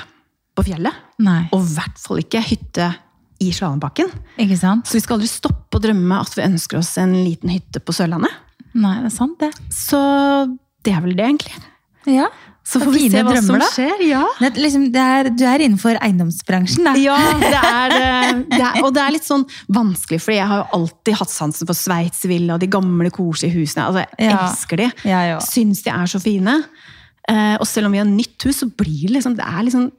Speaker 2: på fjellet.
Speaker 1: Nei.
Speaker 2: Og i hvert fall ikke hytte i Slalåmbakken.
Speaker 1: Ikke sant?
Speaker 2: Så vi skal aldri stoppe å drømme at vi ønsker oss en liten hytte på Sørlandet.
Speaker 1: Nei, det er sant, det.
Speaker 2: Så det er vel det, egentlig.
Speaker 1: Ja. Det
Speaker 2: Så
Speaker 1: er
Speaker 2: får vi
Speaker 1: fine
Speaker 2: se hva
Speaker 1: drømmer,
Speaker 2: som
Speaker 1: da.
Speaker 2: skjer. Ja.
Speaker 1: Det, er liksom, det er, du er innenfor eiendomsbransjen, da.
Speaker 2: Ja, det er, eh, det er Og det er litt sånn vanskelig, fordi jeg har jo alltid hatt sansen for Sveitsvilla og de gamle, koselige husene. Altså, jeg
Speaker 1: Ja.
Speaker 2: elsker de.
Speaker 1: Jeg òg.
Speaker 2: Syns de er så fine. Eh, og selv om vi har nytt hus, så blir det liksom Det er liksom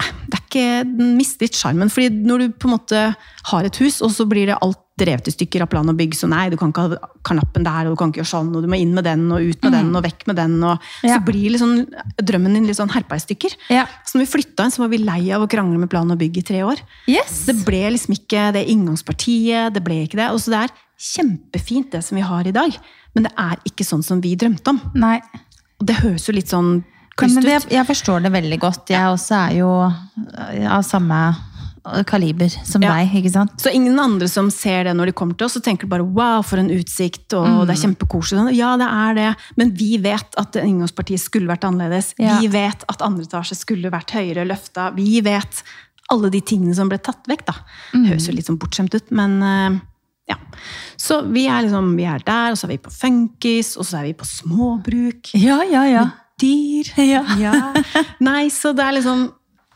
Speaker 2: det er ikke, Den mister litt sjarmen. fordi når du på en måte har et hus, og så blir det alt blitt revet i stykker av plan og bygg. Så nei, du kan ikke ha kanappen der, og du kan ikke gjøre sånn, og du må inn med den, og ut med den, og vekk med den. Og
Speaker 1: Mm. Ja.
Speaker 2: så blir liksom, drømmen din litt sånn herpa i stykker.
Speaker 1: Ja.
Speaker 2: Så når vi flytta inn, så var vi lei av å krangle med plan og bygg i tre år.
Speaker 1: Yes.
Speaker 2: Det ble liksom ikke det inngangspartiet, det ble ikke det. Og så det er kjempefint det som vi har i dag, men det er ikke sånn som vi drømte om.
Speaker 1: Nei.
Speaker 2: Og det høres jo litt sånn
Speaker 1: Men
Speaker 2: kryst ut.
Speaker 1: det, jeg forstår det veldig godt. Jeg også er jo eh, av samme eh, kaliber som
Speaker 2: Ja.
Speaker 1: deg, ikke sant?
Speaker 2: Så ingen andre som ser det når de kommer til oss, så tenker de bare wow, for en utsikt, og det er kjempekoselig. Sånn, Ja, det er det, men vi vet at inngangspartiet skulle vært annerledes.
Speaker 1: Ja.
Speaker 2: Vi vet at andre etasje skulle vært høyere løfta. Vi vet alle de tingene som ble tatt vekk, da. Høres jo litt sånn bortskjemt ut, men eh, ja. Så vi er liksom, vi er der, og så er vi på funkis, og så er vi på småbruk.
Speaker 1: Ja, ja, ja.
Speaker 2: Dyr.
Speaker 1: Ja.
Speaker 2: Ja. Nei, så det er liksom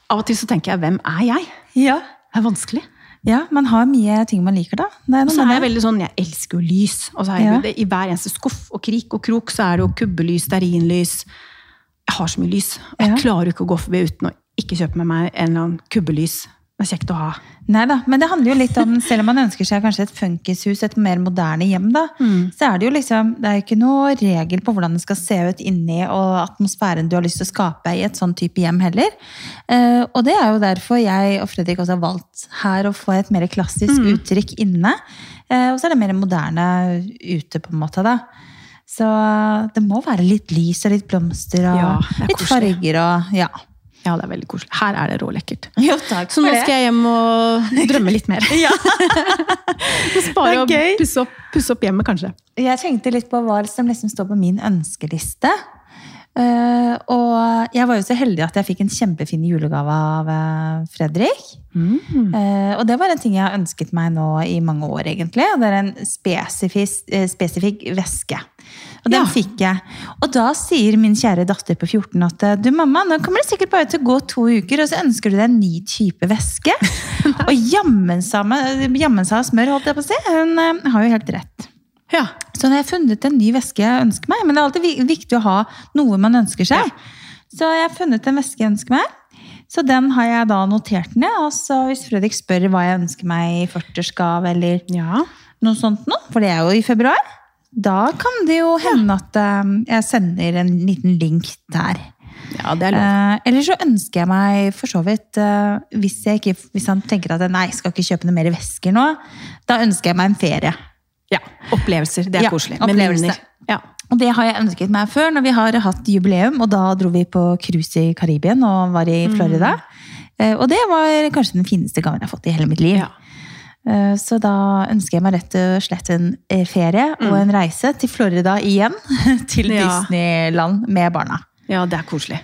Speaker 2: Av og til så tenker jeg, hvem er jeg?
Speaker 1: Ja.
Speaker 2: Det er vanskelig.
Speaker 1: Ja, man har mye ting man liker, da. Det er
Speaker 2: Og
Speaker 1: noe
Speaker 2: så
Speaker 1: med
Speaker 2: er jeg
Speaker 1: det.
Speaker 2: veldig sånn, jeg elsker jo lys. Og så er
Speaker 1: Ja.
Speaker 2: jeg, det- I hver eneste skuff og krik og krok så er det jo kubbelys, stearinlys. Jeg har så mye lys. og Jeg
Speaker 1: Ja.
Speaker 2: klarer jo ikke å gå forbi uten å ikke kjøpe med meg en eller annen kubbelys. Det er kjekt å ha.
Speaker 1: Neida, men det handler jo litt om, selv om man ønsker seg kanskje et funkishus, et mer moderne hjem, da,
Speaker 2: Mm.
Speaker 1: så er det jo liksom, det er jo ikke noe regel på hvordan det skal se ut inni, og atmosfæren du har lyst til å skape i et sånn type hjem heller. Eh, og det er jo derfor jeg og Fredrik også har valgt her å få et mer klassisk
Speaker 2: Mm.
Speaker 1: uttrykk inne, eh, og så er det mer moderne ute på en måte da. Så det må være litt lys og litt blomster og
Speaker 2: Ja, det er
Speaker 1: litt
Speaker 2: koselig.
Speaker 1: farger og ja.
Speaker 2: Ja, det er veldig koselig. Her er det rålekkert.
Speaker 1: Jo, takk
Speaker 2: Så nå skal jeg hjem og drømme litt mer.
Speaker 1: Ja.
Speaker 2: Spare og
Speaker 1: Det er gøy.
Speaker 2: pusse opp, pusse opp hjemmet, kanskje.
Speaker 1: Jeg tenkte litt på hva som liksom står på min ønskeliste. Eh, og jeg var jo så heldig at jeg fikk en kjempefin julegave av eh, Fredrik. Eh, og det var en ting jeg har ønsket meg nå i mange år, egentlig. Og det er en spesifis, eh, spesifikk veske. Og den
Speaker 2: Ja.
Speaker 1: fikk jeg. Og da sier min kjære datter på 14 at eh, du mamma, nå kommer det sikkert bare til å gå to uker, og så ønsker du deg en ny type væske. og jammen sammen- jammen sa smør, holdt jeg på å si. Hun eh, har jo helt rett.
Speaker 2: Ja.
Speaker 1: Så nå har jeg funnet en ny veske jeg ønsker meg. Men det er alltid vi- viktig å ha noe man ønsker seg. Så jeg har funnet en veske jeg ønsker meg. Så den har jeg da notert ned. Og så hvis Fredrik spør hva jeg ønsker meg i 40-årsgave eller
Speaker 2: ja.
Speaker 1: noe sånt nå, for det er jo i februar, da kan det jo hende at eh, jeg sender en liten link der.
Speaker 2: Ja, det er lov.
Speaker 1: Eh, eller så ønsker jeg meg for så vidt eh, hvis, jeg ikke, hvis han tenker at nei, jeg skal ikke kjøpe noe mer vesker nå, da ønsker jeg meg en ferie.
Speaker 2: Ja. Opplevelser. Det er
Speaker 1: Ja,
Speaker 2: koselig.
Speaker 1: opplevelse.
Speaker 2: Med minner. Ja.
Speaker 1: Og det har jeg ønsket meg før, når vi har hatt jubileum, og da dro vi på cruise i Karibien og var i Florida. Eh, Og det var kanskje den fineste gaven jeg har fått i hele mitt liv.
Speaker 2: Mm. Ja.
Speaker 1: Eh, Så da ønsker jeg meg rett og slett en eh, ferie og en reise til Florida igjen. Til
Speaker 2: Mm. Ja.
Speaker 1: Disneyland med barna.
Speaker 2: ja, det er koselig.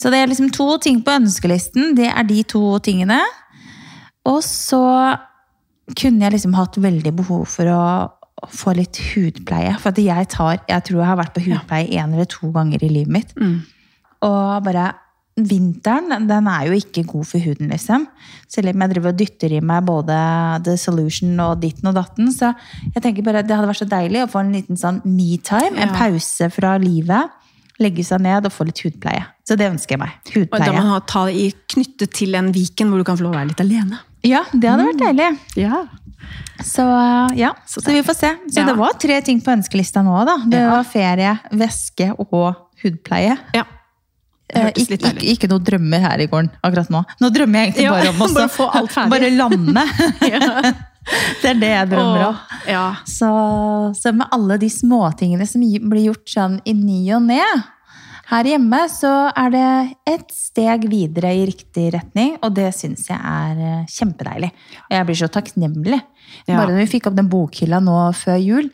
Speaker 1: Så det er liksom to ting på ønskelisten. Det er de to tingene. Og så kunne jeg liksom hatt veldig behov for å få litt hudpleie. For at jeg tar Jeg tror jeg har vært på hudpleie én eller to ganger i livet mitt.
Speaker 2: Mm.
Speaker 1: Og bare Vinteren den er jo ikke god for huden, liksom. Selv om jeg driver og dytter i meg både The Solution og ditten og datten. Så jeg tenker bare det hadde vært så deilig å få en liten sånn me-time. En
Speaker 2: Ja.
Speaker 1: pause fra livet. Legge seg ned og få litt hudpleie. Så det ønsker jeg meg.
Speaker 2: Og da må
Speaker 1: Hudpleie.
Speaker 2: man ha- ta det i knyttet til en Viken hvor du kan få lov å være litt alene.
Speaker 1: Ja, det hadde vært deilig.
Speaker 2: Ja.
Speaker 1: Så ja, så, vi får se. Så
Speaker 2: Ja.
Speaker 1: det var tre ting på ønskelista nå, da. Det
Speaker 2: Ja.
Speaker 1: var ferie, væske og hudpleie.
Speaker 2: Ja. Det
Speaker 1: Eh,
Speaker 2: hørtes
Speaker 1: ikke,
Speaker 2: litt deilig
Speaker 1: ikke, ikke noe drømmer her i gården akkurat nå. Nå drømmer jeg egentlig
Speaker 2: Ja,
Speaker 1: bare om å
Speaker 2: bare få alt ferdig.
Speaker 1: bare lande. det er det jeg drømmer om.
Speaker 2: Åh, Ja.
Speaker 1: Så, så med alle de småtingene som gi- blir gjort sånn i ny og ne her hjemme, så er det et steg videre i riktig retning, og det syns jeg er eh, kjempedeilig. Og jeg blir så takknemlig.
Speaker 2: Ja.
Speaker 1: Bare når vi fikk opp den bokhylla nå før jul.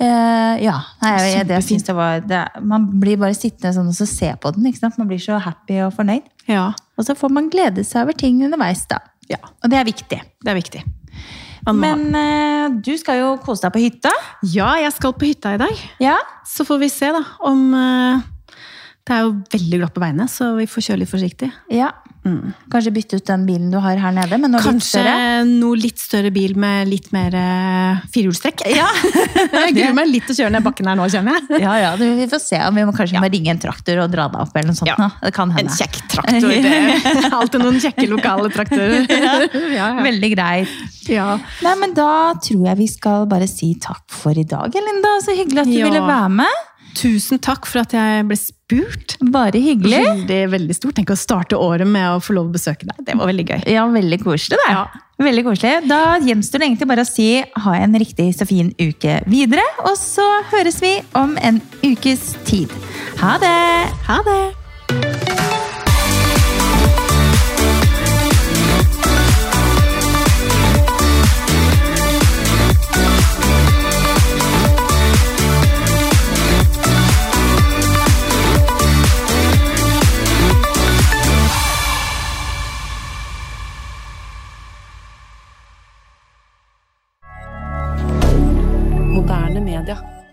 Speaker 1: eh, ja, nei, jeg, det synes jeg var det, Man blir bare sittende sånn og så se på den. ikke sant? Man blir så happy og fornøyd.
Speaker 2: ja.
Speaker 1: Og så får man glede seg over ting underveis, da.
Speaker 2: Ja.
Speaker 1: Og det er viktig.
Speaker 2: Det er viktig. Man må ha-
Speaker 1: Men eh, du skal jo kose deg på hytta.
Speaker 2: ja, jeg skal på hytta i dag.
Speaker 1: Ja,
Speaker 2: Så får vi se da, om eh, Det er jo veldig glatt på veiene, så vi får kjøre litt forsiktig.
Speaker 1: Ja. Kanskje bytte ut den bilen du har her nede, men nå
Speaker 2: Kanskje
Speaker 1: litt større.
Speaker 2: noe litt større bil med litt mer eh, firehjulstrekk. jeg gruer meg litt til å kjøre ned bakken her nå, kjenner jeg.
Speaker 1: Ja, ja, du, vi får se om vi må kanskje må ringe en traktor og dra deg opp. eller noe sånt.
Speaker 2: Ja.
Speaker 1: nå. Det kan hende.
Speaker 2: En kjekk traktor. Det. Alltid noen kjekke lokale traktorer. Ja, ja.
Speaker 1: Veldig greit.
Speaker 2: ja.
Speaker 1: Nei, men Da tror jeg vi skal bare si takk for i dag, Linda. Så hyggelig at du
Speaker 2: Ja.
Speaker 1: ville være med.
Speaker 2: Tusen takk for at jeg ble spurt.
Speaker 1: Bare hyggelig.
Speaker 2: Veldig, veldig stort. Tenk å starte året med å få lov å besøke deg. Det var veldig gøy.
Speaker 1: Ja, veldig koselig, det.
Speaker 2: Ja.
Speaker 1: Veldig koselig. Da gjenstår det egentlig bare å si ha en riktig så fin uke videre. Og så høres vi om en ukes tid. Ha det!
Speaker 2: Ha det!
Speaker 3: Moderne media.